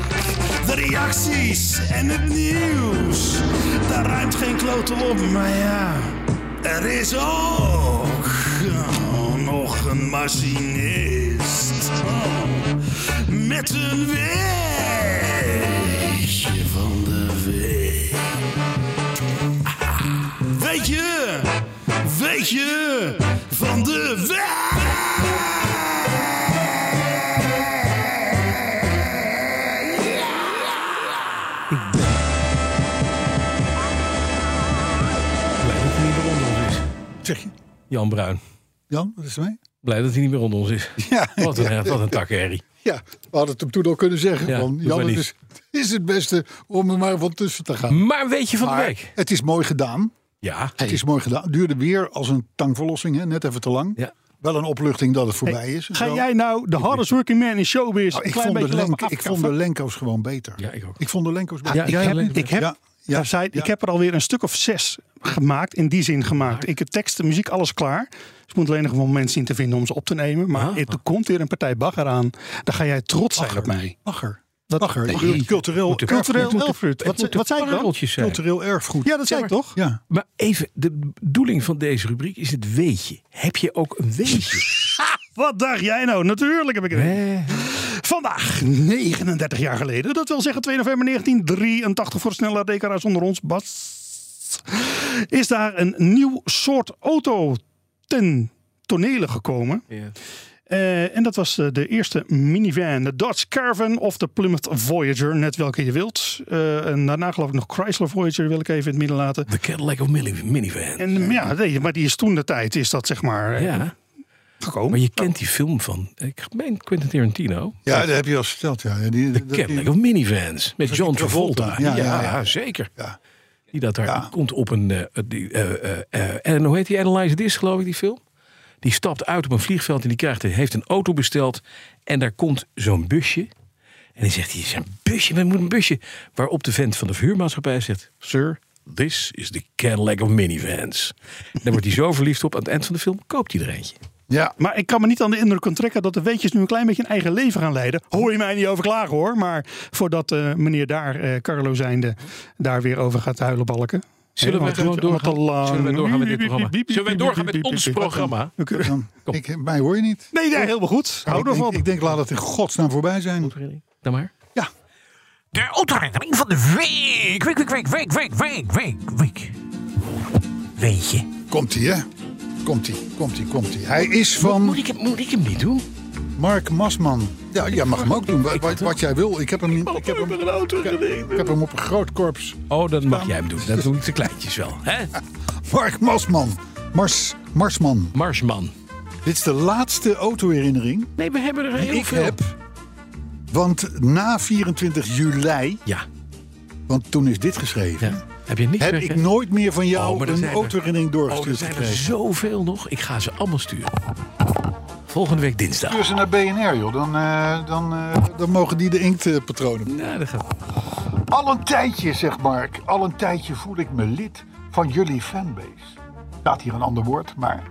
De reacties en het nieuws. Daar ruimt geen klote op, maar ja. Er is ook oh, nog een machinist. Oh, met een weetje van de week. Weet je, weet je van de weg. Blij dat hij niet meer onder ons is. Zeg je? Jan Bruin. Jan, wat is er mee? Blij dat hij niet meer onder ons is. Ja, Wat een, wat een tak, Harry. ja, we hadden het hem toen al kunnen zeggen. Ja, van, doe Jan, maar het niet. is, het is het beste om er maar van tussen te gaan. Maar weet je van de Maar week? het is mooi gedaan. Ja. Het is mooi gedaan. Duurde weer als een tangverlossing, hè? net even te lang. Ja. Wel een opluchting dat het voorbij is. en Ga zo. jij nou de hardest working man in showbiz Nou, een ik, klein vond de beetje laten Lenk- ik vond de afkaffen? Lenko's gewoon beter. Ja, ik ook. Ik vond de Lenko's beter. Ja, ik ja, heb, Lenk- ik heb, Ja, ja, daar zei- ja. ik heb er alweer een stuk of zes gemaakt, in die zin gemaakt. Ik heb tekst, de muziek, alles klaar. Dus ik moet alleen nog wel mensen zien te vinden om ze op te nemen. Maar Ah. het- er komt weer een partij bagger aan. Dan ga jij trots zijn op mij. Bagger. Dat- Bagger. Nee. Cultureel- Cultureel, Moet de- Cultureel erfgoed. erfgoed. Wat, Moet de wat zei ik dan? pareltjes zijn. Cultureel erfgoed. Ja, dat zei ik maar- toch? Ja. Maar even, de bedoeling van deze rubriek is het weetje. Heb je ook een weetje? Wat dacht jij nou? Natuurlijk heb ik het. Hè? Vandaag, 39 jaar geleden, dat wil zeggen 2 november 1983 voor sneller DKR onder ons, Bas. Is daar een nieuw soort auto ten tonele gekomen. Eh, en dat was eh, de eerste minivan, de Dodge Caravan of de Plymouth Voyager, net welke je wilt. Eh, en daarna geloof ik nog Chrysler Voyager wil ik even in het midden laten. De Cadillac of mini- minivan. En ja, nee, maar die is toen de tijd, is dat zeg maar eh, Ja, gekomen. maar je kent die film van, ik meen Quentin Tarantino. Ja, dat heb je al eens verteld. Ja. Ja, die- De dat- Cadillac of minivans. Met John Travolta. Travolta. Ja, ja, ja. zeker. Ja. Die dat daar Ja. die komt op een... eh, die, eh, eh, eh, en hoe heet die? Analyze This, geloof ik, die film. Die stapt uit op een vliegveld en die krijgt, heeft een auto besteld. En daar komt zo'n busje. En die zegt, hier is een busje, we moeten een busje. Waarop de vent van de verhuurmaatschappij zegt... Sir, this is the Cadillac of minivans. En daar wordt hij zo verliefd op. Aan het eind van de film koopt hij er eentje. ja. Maar ik kan me niet aan de indruk onttrekken dat de weetjes nu een klein beetje een eigen leven gaan leiden. Hoor je mij niet over klagen hoor. Maar voordat eh, meneer daar, eh, Carlo zijnde, daar weer over gaat huilen balken. Zullen we Want- gewoon want te doorgaan? lang- Zullen we doorgaan met dit programma? Piep, piep, Zullen we piep, doorgaan piep, met piep, ons piep, piep. programma? We kunnen- Dan- ik, mij hoor je niet. Nee, nee, helemaal goed. Hou ik, denk, ervan. ik denk, laat het in godsnaam voorbij zijn. Dan Nou maar. Ja. De autoherinnering Eh, van de week. Week, week, week, week, week, week, week, week. Weet je? Komt ie, hè? Komt ie, komt ie, komt ie. Hij is van Moet ik, hem- moet ik hem niet doen? Mark Masman. Ja, jij mag hem ook doen. Wat, wat- wat jij wil. Ik heb hem, ik heb hem, ik heb hem op een groot korps. Oh, dan mag jij hem doen. Dat doen de kleintjes wel. Hè? Mark Masman. Mars, Marsman. Marsman. Dit is de laatste autoherinnering Nee, we hebben er die heel ik veel. heb. Want na 24 juli, Ja, want toen is dit geschreven, ja. Heb je niks heb meer ik gezegd? nooit meer van jou Oh, maar er een zijn er- autoherinnering Oh, er doorgestuurd zijn er gekregen. zoveel nog. Ik ga ze allemaal sturen. Volgende week dinsdag. Stuur ze naar BNR, joh. Dan, eh, dan, eh, dan mogen die de inktpatronen Nou, dat gaat. Al een tijdje, zegt Mark, al een tijdje voel ik me lid van jullie fanbase. Staat hier een ander woord, maar.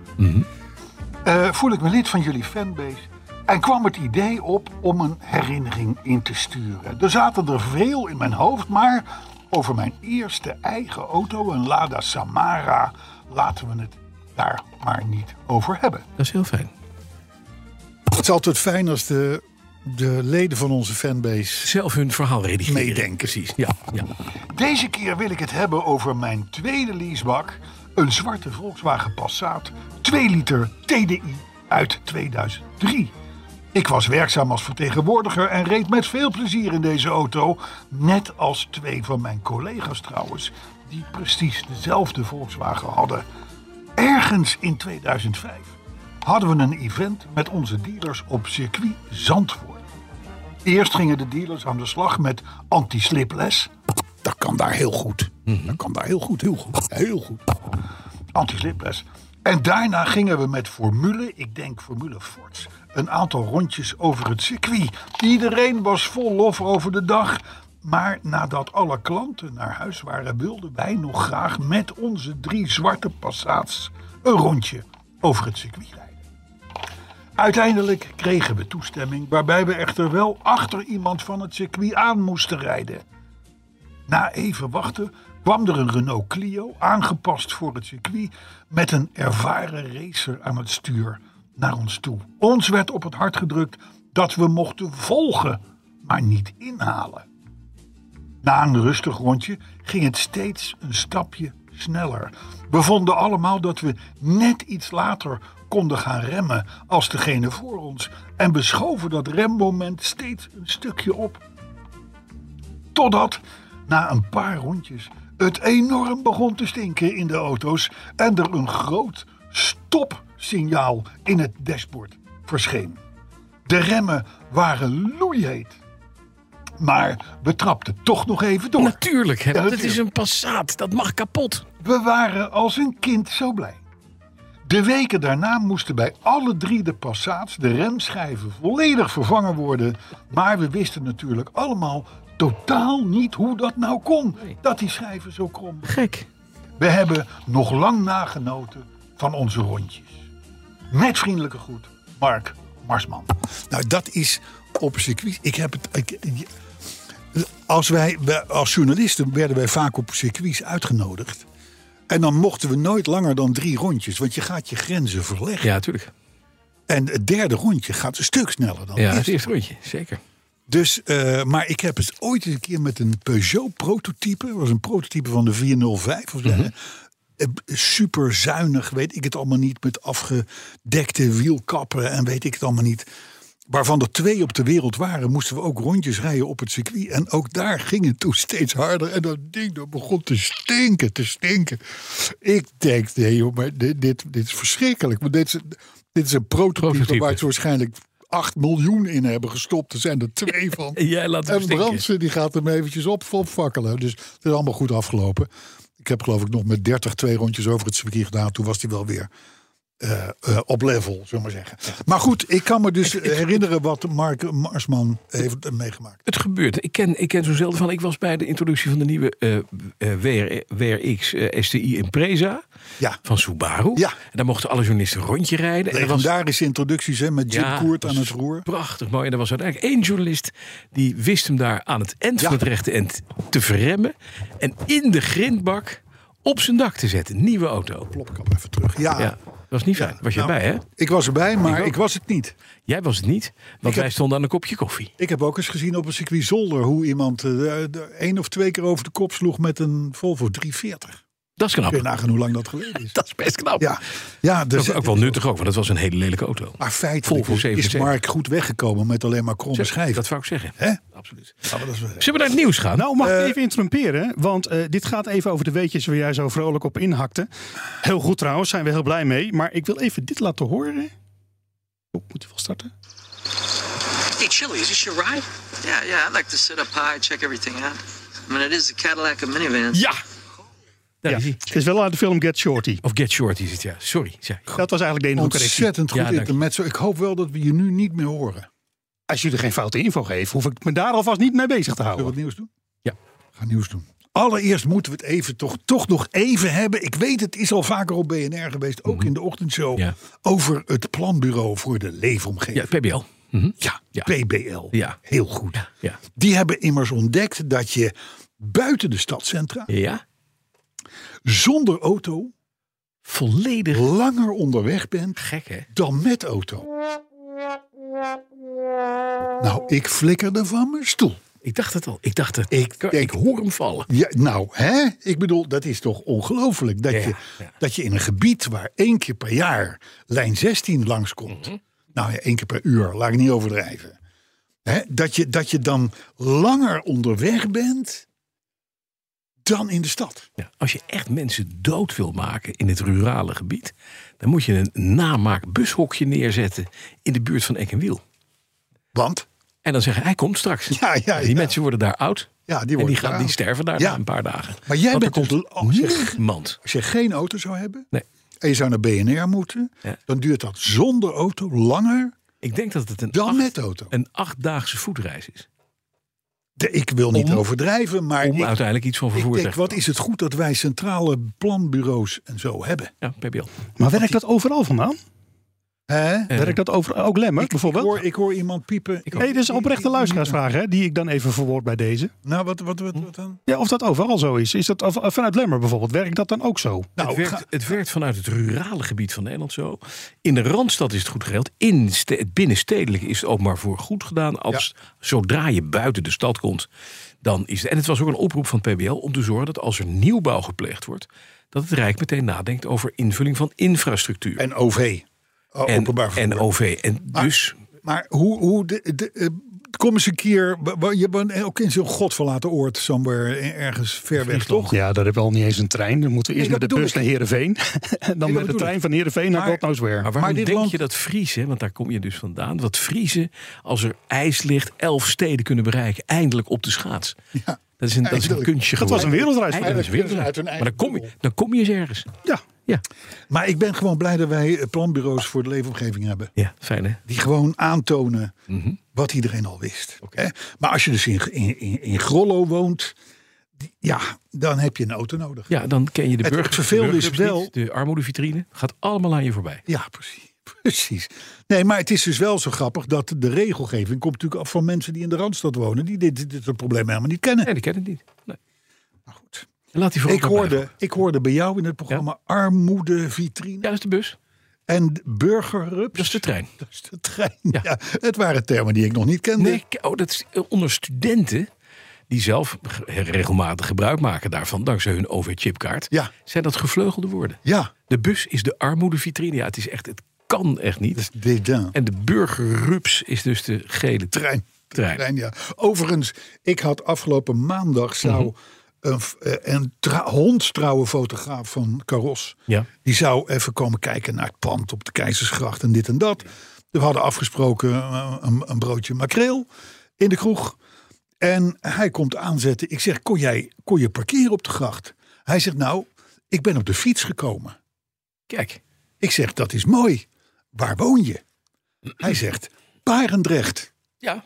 Eh, voel ik me lid van jullie fanbase. En kwam het idee op om een herinnering in te sturen. Er zaten er veel in mijn hoofd, maar over mijn eerste eigen auto, een Lada Samara, laten we het daar maar niet over hebben. Dat is heel fijn. Het is altijd fijn als de, de leden van onze fanbase Zelf hun verhaal redigeren. Meedenken. Precies. Ja, ja. Deze keer wil ik het hebben over mijn tweede leasebak. Een zwarte Volkswagen Passat 2 liter TDI uit 2003. Ik was werkzaam als vertegenwoordiger en reed met veel plezier in deze auto. Net als twee van mijn collega's trouwens, die precies dezelfde Volkswagen hadden. Ergens in 2005 hadden we een event met onze dealers op circuit Zandvoort. Eerst gingen de dealers aan de slag met anti-sliples. Dat kan daar heel goed. Dat kan daar heel goed, heel goed, heel goed. Anti-sliples. En daarna gingen we met formule, ik denk formule Forts, een aantal rondjes over het circuit. Iedereen was vol lof over de dag. Maar nadat alle klanten naar huis waren, wilden wij nog graag met onze drie zwarte Passats een rondje over het circuit rijden. Uiteindelijk kregen we toestemming, waarbij we echter wel achter iemand van het circuit aan moesten rijden. Na even wachten kwam er een Renault Clio, aangepast voor het circuit, met een ervaren racer aan het stuur naar ons toe. Ons werd op het hart gedrukt dat we mochten volgen, maar niet inhalen. Na een rustig rondje ging het steeds een stapje sneller. We vonden allemaal dat we net iets later konden gaan remmen als degene voor ons en beschoven dat remmoment steeds een stukje op. Totdat, na een paar rondjes, het enorm begon te stinken in de auto's en er een groot stopsignaal in het dashboard verscheen. De remmen waren loeiheet. Maar we trapten toch nog even door. Natuurlijk, hè, Ja, want het natuurlijk. is een Passat. Dat mag kapot. We waren als een kind zo blij. De weken daarna moesten bij alle drie de Passats de remschijven volledig vervangen worden. Maar we wisten natuurlijk allemaal totaal niet hoe dat nou kon. Dat die schijven zo krom waren. Gek. We hebben nog lang nagenoten van onze rondjes. Met vriendelijke groet, Mark Marsman. Nou, dat is op circuit. Ik heb het. ik- ik- als wij, we- als journalisten werden wij vaak op circuits uitgenodigd. En dan mochten we nooit langer dan drie rondjes, want je gaat je grenzen verleggen. Ja, natuurlijk. En het derde rondje gaat een stuk sneller dan Ja, het het eerste. eerste rondje, zeker. Dus, eh, maar ik heb eens ooit eens een keer met een Peugeot-prototype. Dat was een prototype van de 405 of zo. Eh, Super zuinig, weet ik het allemaal niet. Met afgedekte wielkappen en weet ik het allemaal niet. Waarvan er twee op de wereld waren, moesten we ook rondjes rijden op het circuit. En ook daar ging het toen steeds harder. En dat ding dat begon te stinken, te stinken. Ik denk, nee joh, maar dit, dit, dit is verschrikkelijk. Maar dit is, een- dit is een prototype, Prototype. waar het waarschijnlijk 8 miljoen in hebben gestopt. Er zijn er twee van. En jij laat hem En stinken. Brandsen die gaat hem eventjes op, opvakkelen. Dus het is allemaal goed afgelopen. Ik heb geloof ik nog met 30 twee rondjes over het circuit gedaan. Toen was hij wel weer eh, eh, op level, zullen we maar zeggen. Maar goed, ik kan me dus herinneren wat Mark Marsman heeft eh, meegemaakt. Het gebeurt. Ik ken, ik ken zo zelden van. Ik was bij de introductie van de nieuwe eh, eh, WR, WRX eh, STI Impreza Ja, van Subaru. Ja. En daar mochten alle journalisten een rondje rijden. En er was legendarische introducties hè, met Jim Ja, Koert dat aan was het roer. Prachtig mooi. En er was uiteindelijk één journalist die wist hem daar aan het eind van Ja. het rechte end te verremmen. En in de grindbak op zijn dak te zetten. Nieuwe auto. Plop, ik kan even terug. Ja, Ja, dat was niet fijn. was jij nou, bij, hè? Ik was erbij, maar ook. ik was het niet. Jij was het niet, want heb- wij stonden aan een kopje koffie. Ik heb ook eens gezien op een circuit zolder hoe iemand eh, de één of twee keer over de kop sloeg met een Volvo 340. Dat is Kun je knap. nagaan hoe lang dat geleden is. Dat is best knap. Ja, ja Dat dus, Nou, is ook wel nuttig ook, want dat was een hele lelijke auto. maar Volvo feitelijk is 77. Mark goed weggekomen met alleen maar kromme schijven. Dat zou ik zeggen. Hè? Absoluut. Ja, maar dat is wel- Zullen we naar het nieuws gaan? Nou, mag ik Eh, even interrumperen? Want eh, dit gaat even over de weetjes waar jij zo vrolijk op inhakte. Heel goed trouwens, zijn we heel blij mee. Maar ik wil even dit laten horen. Oh, moet hij wel starten? Hey, Chili, is this your ride? Yeah, yeah, I'd like to sit up high, check everything out. I mean, it is a Cadillac of minivans. Ja! Daar ja. is hij. Het is wel uit de film Get Shorty. Of Get Short is het, ja. Sorry. zei- Dat was eigenlijk de enige correctie. Ontzettend goed Ja, dank je. intermezzo. Ik hoop wel dat we je nu niet meer horen. Als jullie geen foute info geven, hoef ik me daar alvast niet mee bezig te Zullen we houden. wat nieuws doen? Oh. Ja. Ga nieuws doen. Allereerst moeten we het even toch, toch nog even hebben. Ik weet, het is al vaker op BNR geweest, ook in de ochtendshow. Mhm. Ja. Over het planbureau voor de Ja, leefomgeving. PBL. Mhm. Ja, Ja. PBL. Ja. Heel goed. Ja. Die hebben immers ontdekt dat je buiten de stadcentra, Ja? zonder auto, Volledig langer onderweg bent gek, hè? dan met auto. Nou, ik flikkerde van mijn stoel. Ik dacht het al. Ik dacht het. Ik Ik, denk- hoor hem vallen. Ja, nou, hè? Ik bedoel, dat is toch ongelooflijk. Dat, Ja, je, ja. dat je in een gebied waar één keer per jaar lijn 16 langskomt. Mhm. Nou ja, één keer per uur, laat ik niet overdrijven. Hè? Dat, je, dat je dan langer onderweg bent dan in de stad. Ja, als je echt mensen dood wil maken in het rurale gebied, dan moet je een namaakbushokje neerzetten in de buurt van Eck en Wiel. Want, En dan zeggen, hij komt straks. ja, ja, En die ja. mensen worden daar oud. ja, die en worden die, gaan, daar die oud. sterven daar Ja. na een paar dagen. Maar jij Want er bent komt dus al- zeg- niemand. Als je geen auto zou hebben Nee. en je zou naar BNR moeten... Ja. dan duurt dat zonder auto langer Ik denk dat het een, dan acht, met auto. een achtdaagse voetreis is. De- ik wil niet Om- overdrijven, maar Om ik, uiteindelijk iets van ik vervoer te denk, wat is het goed dat wij centrale planbureaus en zo hebben. Ja, PBL. Maar werkt dat overal vandaan? Hè? Werkt dat over ook Lemmer bijvoorbeeld? Ik hoor, ik hoor iemand piepen. Nee, dit is een oprechte luisteraarsvraag hè, die ik dan even verwoord bij deze. Nou, wat, wat, wat, wat dan? Ja, of dat overal zo is. Is dat of- eh, vanuit Lemmer bijvoorbeeld? Werkt dat dan ook zo? Nou, het, werkt, het werkt vanuit het rurale gebied van Nederland zo. In de Randstad is het goed geregeld. In ste- het binnenstedelijk is het ook maar voor goed gedaan. Als, Zodra je buiten de stad komt, dan is het... En het was ook een oproep van het PBL om te zorgen dat als er nieuwbouw gepleegd wordt... dat het Rijk meteen nadenkt over invulling van infrastructuur. En OV. O- Oh, En, openbaar vervoer. en OV. En dus... Maar hoe, hoe de, de, eh, kom eens een keer. wa- wa- Je bent ook in zo'n godverlaten oord, somewhere, eh, ergens ver weg, toch? Ja, daar heb je al niet eens een trein. Dan moeten we eerst Nee, met de dat bus naar bedoel Heerenveen. en dan dat met de bedoel trein ik. van Heerenveen naar Maar- God knows where. Maar waarom dit denk land- je dat Vriezen, want daar kom je dus vandaan, dat Vriezen, als er ijs ligt, elf steden kunnen bereiken, eindelijk op de schaats? dat, is een, dat is een eindelijk. kunstje Dat was een wereldreis. Eindelijk is een wereldreis. Uit hun eigen Maar dan kom, je, dan kom je eens ergens. Ja. Ja, Maar ik ben gewoon blij dat wij eh, planbureaus voor de leefomgeving hebben. ja fijn hè? Die gewoon aantonen Mhm. wat iedereen al wist. Hè? Maar als je dus in, in, in, in Grollo woont, die- ja, dan heb je een auto nodig. Ja, dan ken je de Het burger. vervelende de is burgers wel- niet, De armoedevitrine gaat allemaal aan je voorbij. Ja, precies. Precies. Nee, maar het is dus wel zo grappig dat de regelgeving komt natuurlijk af van mensen die in de Randstad wonen. Die dit, dit soort problemen helemaal niet kennen. Nee, die kennen het niet. Nee. Maar Nou goed. En Laat die vooral Ik daarbij hoorde, horen. ik hoorde bij jou in het programma Armoede Vitrine Ja, dat is de bus. en Burgerrups. Dat is de trein. Dat is de trein. Ja. het waren termen die ik nog niet kende. Nee, k- oh, dat is eh, onder studenten die zelf g- regelmatig gebruik maken daarvan, dankzij hun OV-chipkaart, Ja. zijn dat gevleugelde woorden. Ja, De bus is de armoedevitrine. Ja, het is echt, het kan echt niet. dat is dédain. En de burgerrups is dus de gele trein. Trein. Trein. Trein, ja. Overigens, ik had afgelopen maandag zou Mhm. een, f- eh, een tra- hondstrouwe fotograaf van Caros. Ja. Die zou even komen kijken naar het pand op de Keizersgracht en dit en dat. We hadden afgesproken eh, een, een broodje makreel in de kroeg. En hij komt aanzetten. Ik zeg, kon, jij, kon je parkeren op de gracht? Hij zegt, nou, ik ben op de fiets gekomen. Kijk, Ik zeg, dat is mooi. Waar woon je? Hij zegt, Barendrecht. ja,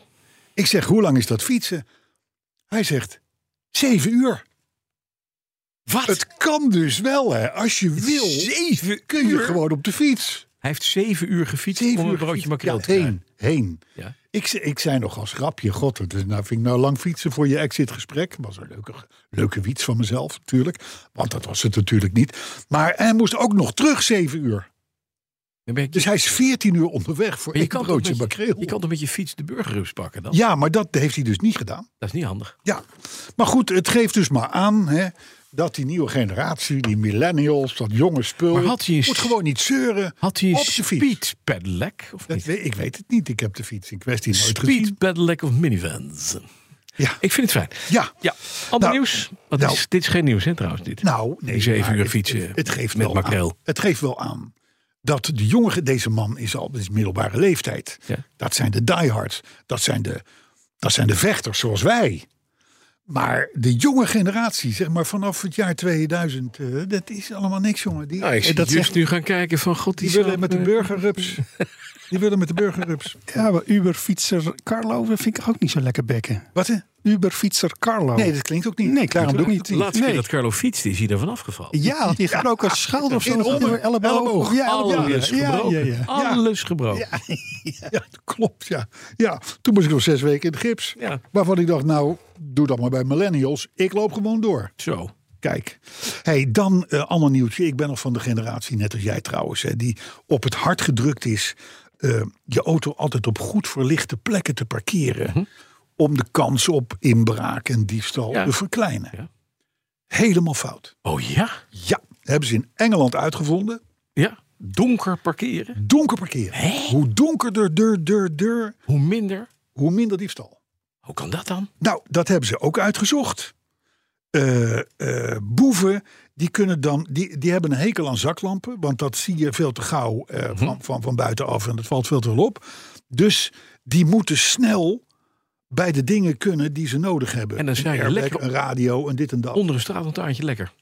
Ik zeg, hoe lang is dat fietsen? Hij zegt, zeven uur. wat? Het kan dus wel, hè. Als je wil, Zeven kun je uur? gewoon op de fiets. Hij heeft zeven uur gefietst Zeven om een uur broodje fietsen. makreel Ja, te krijgen. heen, heen. Ja. Ik, ze- ik zei nog als grapje, god, het is, nou vind ik nou lang fietsen voor je exitgesprek. Was een leuke, leuke wiets van mezelf, natuurlijk. Want dat was het natuurlijk niet. Maar hij moest ook nog terug zeven uur. Dan ben je, Dus hij is veertien uur onderweg voor maar je, één kan toch broodje met je, makreel. je kan toch met je fiets de burgerrups pakken dan? Ja, maar dat heeft hij dus niet gedaan. Dat is niet handig. Ja, maar goed, het geeft dus maar aan hè, dat die nieuwe generatie, die millennials, dat jonge spul, Maar had hij een moet s- gewoon niet zeuren Had hij een op de fiets. speed pedelec of Dat niet? weet, ik weet het niet, ik heb de fiets in kwestie nooit Speed gezien. pedelec of minivans? Ja, Ik vind het fijn. ja. Ja, ander Nou, nieuws. Want nou. dit, is, dit is geen nieuws hè trouwens dit. Nou, nee, Die zeven maar uur het- fietsen Het, het geeft met wel makreel. Aan, het geeft wel aan dat de jongere, deze man is al is middelbare leeftijd. Ja. Dat zijn de diehards. Dat zijn de, dat zijn de vechters zoals wij. Maar de jonge generatie, zeg maar vanaf het jaar 2000, eh, dat is allemaal niks, jongen. Die, Nou, ik eh, zie dat Just zegt- nu gaan kijken van god die die willen zaak, met de eh, burgerrups. die willen met de burgerrups. Ja, maar Uber-fietser Carlo dat vind ik ook niet zo lekker bekken. Wat? hè? Uber-fietser Oh. Carlo. Nee, dat klinkt ook niet. Nee, daarom doe ik De niet. laatste Nee. keer dat Carlo fietste is hij daarvan afgevallen. Ja, want die gaat ook een schouder of zo. In onder- elleboog. Ja, elleboog. Alles Ja, ja, gebroken. ja. Alles gebroken. Ja, klopt, ja. ja. Toen moest ik nog zes weken in de gips. Ja. Waarvan ik dacht, nou, doe dat maar bij millennials. Ik loop gewoon door. Zo. Kijk, hey, dan eh ander nieuwtje. Ik ben nog van de generatie, net als jij trouwens, hè, die op het hart gedrukt is eh, je auto altijd op goed verlichte plekken te parkeren. Mhm. Om de kans op inbraak en diefstal Ja. te verkleinen. Ja. Helemaal fout. Oh ja? Ja, hebben ze in Engeland uitgevonden. Ja. Donker parkeren. Donker parkeren. Hoe donkerder, dur, dur, dur, Hoe minder? hoe minder diefstal. Hoe kan dat dan? Nou, dat hebben ze ook uitgezocht. Eh, eh, boeven, die, kunnen dan, die, die hebben een hekel aan zaklampen. Want dat zie je veel te gauw eh, Mhm. van, van, van buitenaf. En dat valt veel te veel op. Dus die moeten snel bij de dingen kunnen die ze nodig hebben. En dan zijn een je airbag, lekker- een radio en dit en dat. Onder een straatlantaartje lekker.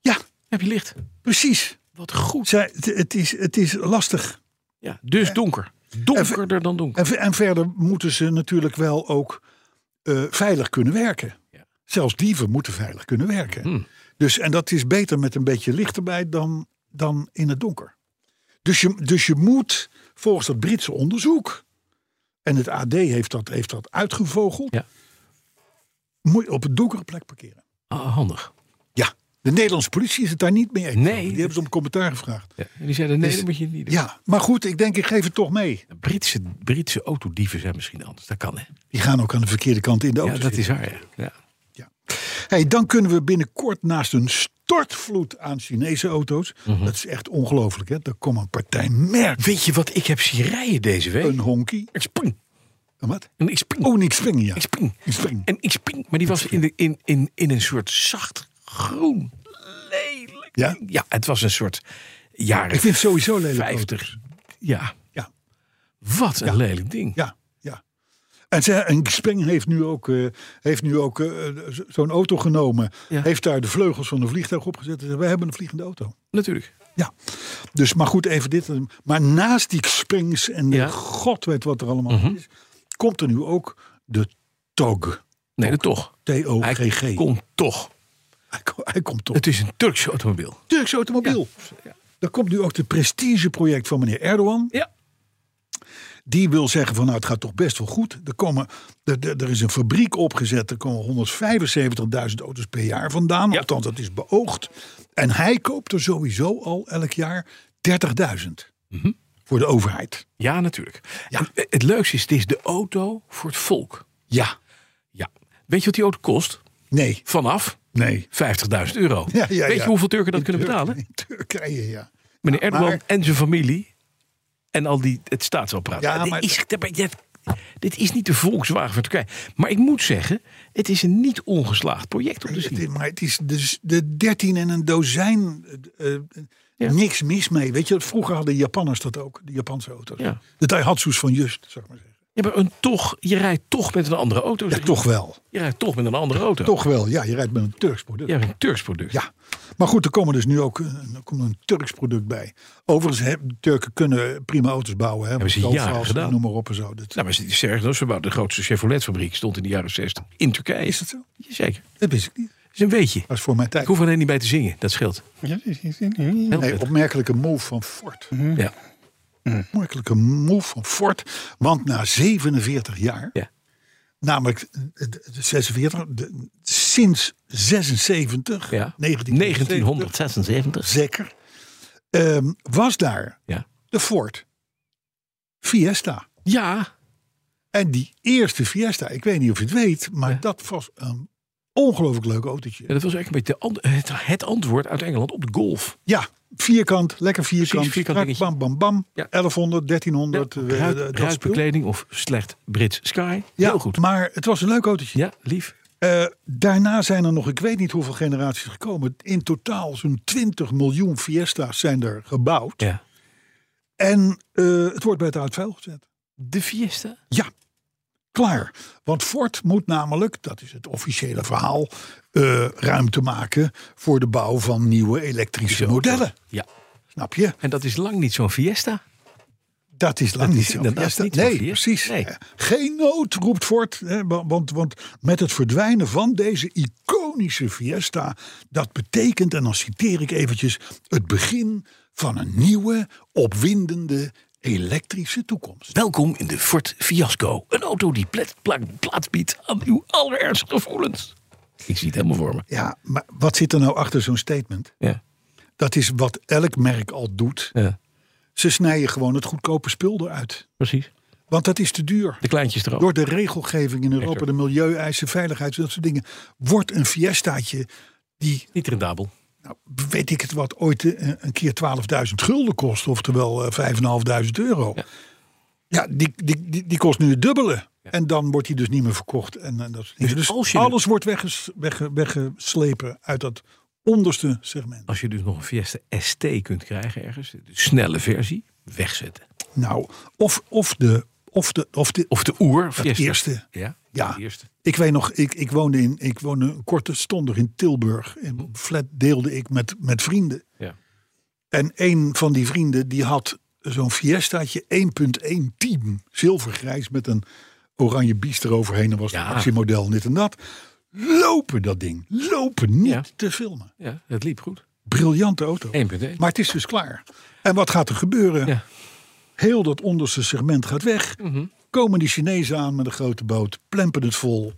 Ja, Heb je licht? precies. Wat goed. Zij, het, het is, het is lastig. Ja, dus donker. Donkerder dan donker. En, ve- en verder moeten ze natuurlijk wel ook eh, veilig kunnen werken. Ja. Zelfs dieven moeten veilig kunnen werken. Hmm. Dus, en dat is beter met een beetje licht erbij dan, dan in het donker. Dus je, dus je moet volgens dat Britse onderzoek, en het AD heeft dat, heeft dat uitgevogeld, moet je op een donkere plek parkeren. Ah, handig. Ja, de Nederlandse politie is het daar niet mee eens. Nee. Die hebben ze om commentaar gevraagd. Ja. En die zeiden, nee, Dus- dat moet je niet doen. Ja, maar goed, ik denk ik geef het toch mee. Britse, Britse autodieven zijn misschien anders. Dat kan, hè? Die gaan ook aan de verkeerde kant in de auto Ja, dat zitten. is waar, ja. ja. Hey, dan kunnen we binnenkort naast een stortvloed aan Chinese auto's. Mhm. Dat is echt ongelooflijk, hè? Daar komt een partij merk. Weet je wat? Ik heb Sirije deze week. Een honkie. Ik spring. Een wat? En ik spring. Oh, niks springen, ja. Ik spring. Ik spring. En ik spring. Maar die was in, de, in, in, in een soort zacht groen. Lelijk. Ja? Ja, het was een soort jaren Ik vind het sowieso lelijk. 50. Ja. Ja. Wat een Ja. lelijk ding. Ja, ja. En, ze, en Xpeng heeft nu ook, eh, heeft nu ook eh, zo- zo'n auto genomen. Ja. Heeft daar de vleugels van een vliegtuig opgezet. En zei, wij hebben een vliegende auto. Natuurlijk. Ja. Dus, maar goed, even dit. Maar naast die Xpengs en Ja. Mhm. god weet wat er allemaal is. Komt er nu ook de TOG. Nee, dat toch. T-O-G-G. Hij komt toch. Hij, ko- hij komt toch. Het is een Turkse automobiel. Turks automobiel. Daar komt nu ook het prestigeproject van meneer Erdogan. Ja. Die wil zeggen van nou het gaat toch best wel goed. Er, komen, er, er- er is een fabriek opgezet. Er komen 175.000 auto's per jaar vandaan. Althans dat is beoogd. En hij koopt er sowieso al elk jaar 30.000. Mhm. Voor de overheid. Ja, natuurlijk. En eh, het leukste is, het is de auto voor het volk. Ja. Ja. Weet je wat die auto kost? Nee. Vanaf Nee. 50.000 euro. Ja, ja, Weet ja. je hoeveel Turken dat In kunnen Turk- betalen? in Turkije, ja. Meneer Ja, Erdogan maar- en zijn familie. En al die, het staatsapparaat. Ja, dit, maar- is, dit- dit is niet de Volkswagen van Turkije. Maar ik moet zeggen, het is een niet ongeslaagd project om te Het zien. is- maar het is dus de 13 en een dozijn. eh, eh, Niks mis mee. Weet je, vroeger hadden Japanners dat ook, de Japanse auto's. Ja. De Daihatsu's van Just, zou ik maar zeggen. Ja, maar een toch, je rijdt toch met een andere auto. Ja, zeg je. toch wel. Je rijdt toch met een andere auto. Toch wel, ja. Je rijdt met een Turks product. Je Ja. hebt een Turks product. Maar goed, er komen dus nu ook eh, er komt een Turks product bij. Overigens, hè, de Turken kunnen prima auto's bouwen. Hè, Hebben ze Met jaren Alfa's en gedaan. Noem maar op en zo. Dat, Nou, maar het is erg, dat ze bouwden de grootste Chevrolet-fabriek stond in de jaren 60 in Turkije. is dat zo? Zeker. Dat wist ik niet. Dat is een weetje. Dat is voor mijn Ik tijd. hoef alleen niet bij te zingen, dat scheelt. Heel Nee, prettig. opmerkelijke move van Ford. Ja. Opmerkelijke move van Ford. Want na 47 jaar ja. Namelijk eh, de- de 46, de- sinds 76, ja. 1976, 1976. zeker, ehm, was daar Ja. de Ford Fiesta. Ja. En die eerste Fiesta, ik weet niet of je het weet, maar dat was een ongelooflijk leuk autootje. Ja, Ja, dat was eigenlijk een beetje de ant- het, het antwoord uit Engeland op de golf. vierkant, lekker vierkant, Precies, vierkant strak, dingetje. bam, bam, bam, Ja. 1100, 1300, eh, Ruit- dat spul. ruitbekleding of slecht Brits Sky. Ja, Heel goed. maar het was een leuk autootje. Ja, lief. Eh, daarna zijn er nog, ik weet niet hoeveel generaties gekomen. In totaal zo'n 20 miljoen Fiesta's zijn er gebouwd. Ja. En eh, het wordt bij het oud vuil gezet. De Fiesta. Ja, klaar. Want Ford moet namelijk, dat is het officiële verhaal, eh, ruimte maken voor de bouw van nieuwe elektrische modellen. Ja. Snap je? En dat is lang niet zo'n Fiesta. Dat is lang Dat niet is zo. inderdaad Fiesta. niet zo'n nee, Fiesta. precies. Nee. Eh, Geen nood, roept Ford. hè, wa- want, want met het verdwijnen van deze iconische Fiesta... dat betekent, en dan citeer ik eventjes... het begin van een nieuwe, opwindende elektrische toekomst. Welkom in de Ford Fiasco. Een auto die pla- pla- plaats biedt aan uw allerergste gevoelens. Ik zie het helemaal voor me. Ja, maar wat zit er nou achter zo'n statement? Ja. Dat is wat elk merk al doet. ja. Ze snijden gewoon het goedkope spul eruit. Precies. Want dat is te duur. De kleintjes erop. Door de regelgeving in Europa, de milieueisen, veiligheid, dat soort dingen... wordt een Fiestaatje die Niet rendabel. nou, weet ik het wat, ooit eh, een keer 12.000 gulden kost, oftewel eh, 5.500 euro. Ja, Ja. die, die, die, die kost nu het dubbele. En dan wordt die dus niet meer verkocht. En, en dat soort dingen. Dus Dus, als je- alles wordt wegges, wegge- weggeslepen uit dat onderste segment. Als je dus nog een Fiesta ST kunt krijgen ergens, de snelle versie, wegzetten. Nou, of, of de. Of de, of de Of de oer dat Fiesta. eerste. Ja, Ja. de eerste. Ik weet nog, ik, ik, woonde in, ik woonde een korte stondig in Tilburg. Hm. En flat deelde ik met, met vrienden. Ja. En een van die vrienden die had zo'n Fiestaatje 1.1 team. Zilvergrijs met een oranje bies eroverheen. Dat was het Ja. actiemodel, dit en dat. Lopen dat ding. Lopen niet Ja. te filmen. Ja, het liep goed. Briljante auto. 1.1. Maar het is dus klaar. En wat gaat er gebeuren? Heel dat onderste segment gaat weg. Mhm. Komen die Chinezen aan met een grote boot, plempen het vol.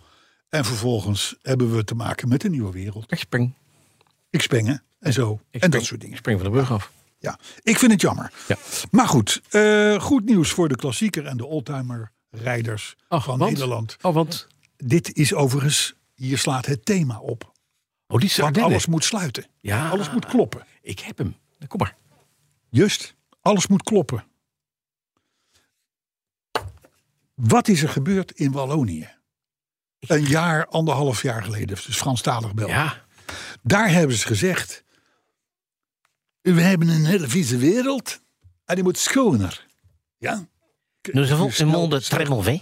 En vervolgens hebben we te maken met een nieuwe wereld. Ik spring. Ik spring, hè? En zo. en dat soort dingen. spring van de brug af. Ja, ik vind het jammer. Maar goed, eh, goed nieuws voor de klassieker en de oldtimer rijders van want? Nederland. Oh, want? Dit is overigens, hier slaat het thema op. Oh, die is de Want Ardennen. alles moet sluiten. Ja. Alles moet kloppen. Ik heb hem. Kom maar. Just, alles moet kloppen. Wat is er gebeurd in Wallonië? Een jaar, anderhalf jaar geleden, dus Franstalig België. Daar hebben ze gezegd: We hebben een hele vieze wereld en die moet schoner. Dus Ja? Nous avons un monde très mauvais.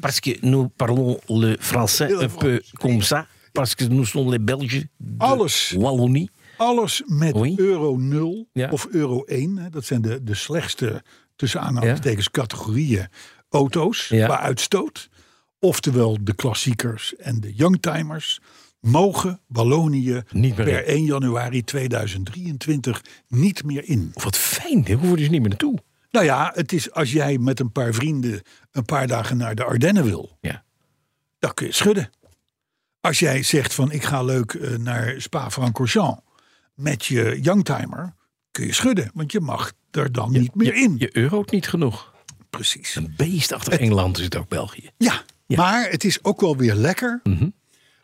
Parce que nous parlons le français un peu comme ça. Parce que nous sommes les Belges de Alles. Wallonie. Alles met euro 0 of euro 1. hè, Dat zijn de, de slechtste, tussen aanhalingstekens, categorieën auto's Ja. qua uitstoot. Oftewel de klassiekers en de youngtimers mogen Wallonië meer per in. 1 januari 2023 niet meer in. Wat fijn, hè? hoe worden ze niet meer naartoe? Nou ja, het is als jij met een paar vrienden een paar dagen naar de Ardennen wil. Ja. Dan kun je schudden. Als jij zegt van ik ga leuk eh, naar Spa-Francorchamps met je youngtimer, kun je schudden. Want je mag er dan niet meer in. Je euroot niet genoeg. Precies. Een beest achter Engeland is het ook België. Ja, maar het is ook wel weer lekker.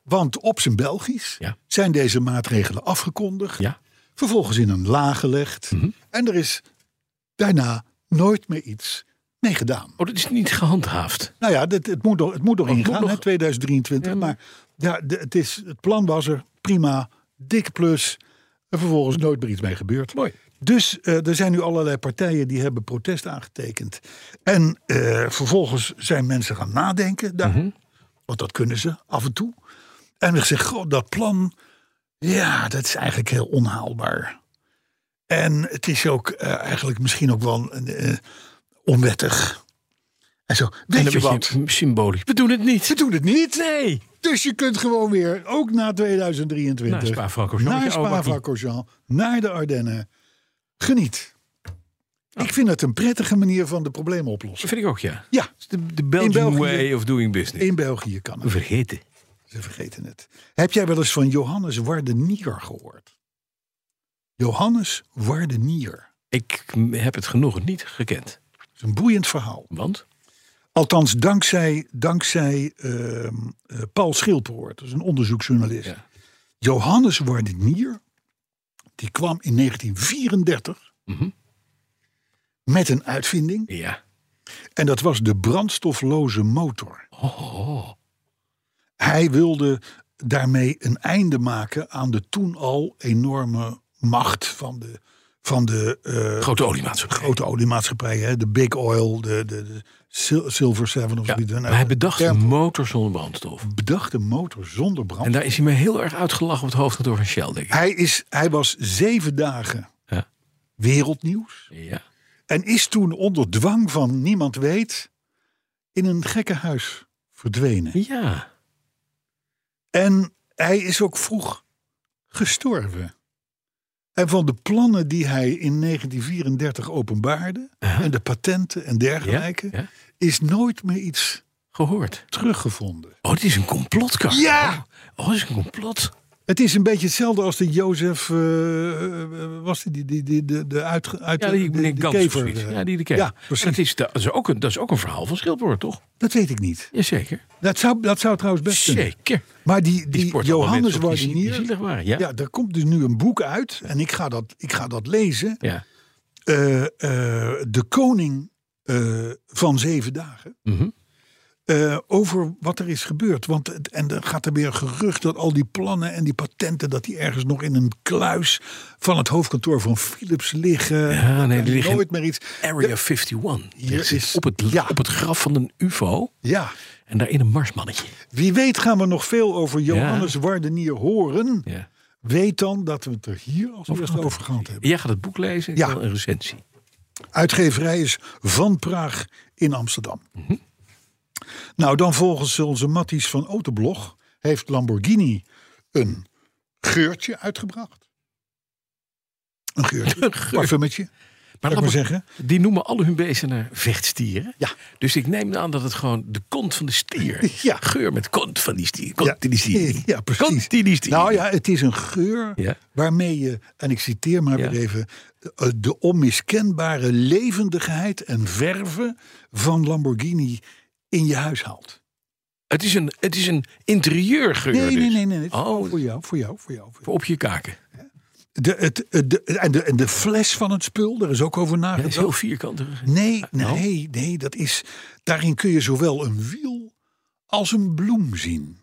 Want op zijn Belgisch zijn deze maatregelen afgekondigd. Vervolgens in een la gelegd. En er is daarna nooit meer iets mee gedaan. Oh, dat is niet gehandhaafd. Nou ja, dit, het moet nog, het moet nog moet ingaan, nog- hè, 2023. Maar ja, de- het, is, het plan was er, prima, dikke plus. En vervolgens nooit meer iets mee gebeurd. Mooi. Dus eh, er zijn nu allerlei partijen die hebben protest aangetekend. En eh, vervolgens zijn mensen gaan nadenken daar. Want dat kunnen ze af en toe. En we zeggen, goh, dat plan, ja, dat is eigenlijk heel onhaalbaar. En het is ook eh, eigenlijk misschien ook wel eh, onwettig. En zo, weet je wat? Symbolisch. We doen het niet. We doen het niet. Nee. Dus je kunt gewoon weer, ook na 2023, Naar Spa-Francorchamps, naar, je oude bakkie. Spa-Francorchamps, naar de Ardennen. Geniet. Ik vind het een prettige manier van de problemen oplossen. Dat vind ik ook, ja. Ja, De, de Belgian In België- way of doing business. in België kan We het. vergeten. Ze vergeten het. Heb jij wel eens van Johannes Wardenier gehoord? Johannes Wardenier. Ik heb het genoeg niet gekend. Dat is een boeiend verhaal. Want? Althans, dankzij, dankzij ehm, eh, Paul Schilpoort, dat is een onderzoeksjournalist. Johannes Wardenier, die kwam in 1934 met een uitvinding. Ja. En dat was de brandstofloze motor. Oh. Hij wilde daarmee een einde maken aan de toen al enorme macht van de. Van de eh, Grote oliemaatschappij. Grote oliemaatschappijen, hè, de Big Oil, de, de, de Sil- Silver Seven of zoiets. Maar hij bedacht Ja, een motor zonder brandstof. bedacht een motor zonder brand. En daar is hij me heel erg uitgelachen op het hoofdkantoor van Shell, denk ik. Hij, is, hij was zeven dagen Ja. wereldnieuws. Ja. En is toen onder dwang van niemand weet in een gekkenhuis verdwenen. Ja. En hij is ook vroeg gestorven. En van de plannen die hij in 1934 openbaarde, en de patenten en dergelijke, ja. is nooit meer iets Gehoord. teruggevonden. Oh, dit is een complotkar. Ja! Oh, dit is een complot. Het is een beetje hetzelfde als de Jozef, eh, eh, was die, die, die, die- de, de uit, uit Ja, die eh, de, meneer de Gans of kever. zoiets. eh. Ja, die de kever. Ja, En dat, is, dat, is ook een, dat is ook een verhaal van Schildpoort, toch? dat weet ik niet. Jazeker. Dat zou, dat zou trouwens best kunnen. Zeker. Maar die, die, sport allemaal Johannes mensen op die zie- die Wardenier, zielig waren, ja. ja, er komt dus nu een boek uit en ik ga dat, ik ga dat lezen. Ja. eh, eh, de koning eh, van zeven dagen. Mhm. eh, over wat er is gebeurd. Want het- en dan gaat er weer gerucht dat al die plannen en die patenten. dat die ergens nog in een kluis van het hoofdkantoor van Philips liggen. Ja, Ah, nee, die En liggen nooit meer iets. Area 51. Hier Hier is- is, op, het, ja. op het graf van een UFO. Ja, En daarin een marsmannetje. wie weet gaan we nog veel over Johannes Wardenier horen. Ja. Weet dan dat we het er hier als eerste over gehad hebben. Jij gaat het boek lezen. Ik Ja. wil een recensie. Uitgeverij is Van Praag in Amsterdam. Mhm. Nou, dan volgens onze Matties van Autoblog heeft Lamborghini een geurtje uitgebracht. Een geurtje. Een Parfummetje. Maar ik laat maar maar- zeggen. Die noemen alle hun beesten eh, vechtstieren. Ja. Dus ik neem aan dat het gewoon de kont van de stier. Ja. Geur met kont van die stier. Kont die stier. Ja, precies. Kont die die stier. Nou ja, het is een geur Ja. waarmee je, en ik citeer maar Ja. weer even, eh, de onmiskenbare levendigheid en verve van Lamborghini in je huis haalt. Het is een, het is een interieurgeur. Nee, nee, dus. nee, nee. nee. Oh, Voor jou, voor jou, voor jou. voor jou. op je kaken. De, het, het- de, en, de, en de fles van het spul, daar is ook over Dat is nagedacht. heel vierkantig. Nee, nee, nee, dat is. Daarin kun je zowel een wiel als een bloem zien.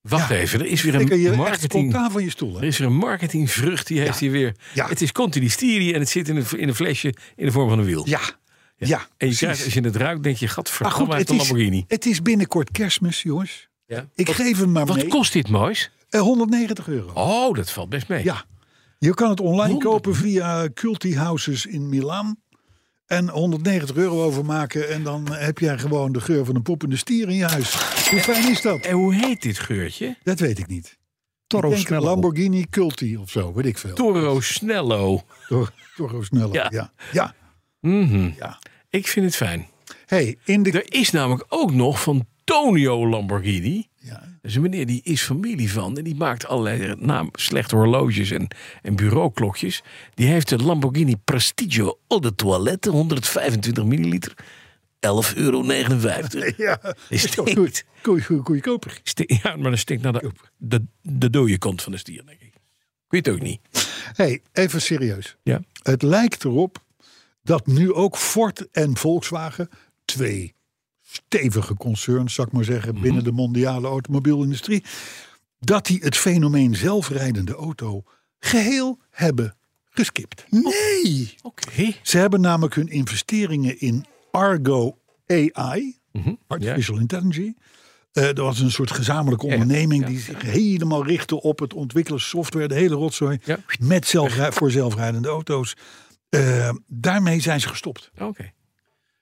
Wacht even, er is weer Dan kun je een echt marketing... spontaan van je stoel. Er is weer een marketingvrucht, die heeft hier weer... Het is continu stirie en het zit in een, in een flesje in de vorm van een wiel. Ja, ja. En je precies. krijgt, als je het ruikt, denk je, Maar goed, gadverdamme uit het de is, Lamborghini. het is binnenkort kerstmis, jongens. Ja. Ik geef hem maar Wat mee. kost dit moois? Eh, 190 euro. Oh, dat valt best mee. Ja. Je kan het online kopen via Culti Houses in Milaan. En 190 euro overmaken. En dan heb jij gewoon de geur van een poepende stier in je huis. Hoe fijn is dat? En hoe heet dit geurtje? Dat weet ik niet. Toro Ik denk Snello. Lamborghini Culti of zo, weet ik veel. Toro Snello. Tor- Toro Snello, Ja. ja. ja. ja. Mhm. Ik vind het fijn. Hey, in de... Er is namelijk ook nog van Tonio Lamborghini. Ja. Dat is een meneer die is familie van. En die maakt allerlei naam, slechte horloges en, en bureauklokjes. Die heeft de Lamborghini Prestigio Eau de Toilette. 125 milliliter. 11,59 euro. Ja, Is toch dit- goed. Goeie- goeie- Goedkoper. Stik- Ja, maar dat stinkt naar de, de, de dode kant van de stier, denk ik. Ik weet het ook niet. Hey, even serieus. Ja. Het lijkt erop dat nu ook Ford en Volkswagen, twee stevige concerns, zou ik maar zeggen, binnen de mondiale automobielindustrie, dat die het fenomeen zelfrijdende auto geheel hebben geskipt. Nee! Oké. Ze hebben namelijk hun investeringen in Argo AI, Artificial Intelligence. eh, dat was een soort gezamenlijke onderneming die zich helemaal richtte op het ontwikkelen software, de hele rotzooi, met zelfrij- voor zelfrijdende auto's. Eh, daarmee zijn ze gestopt. Oké.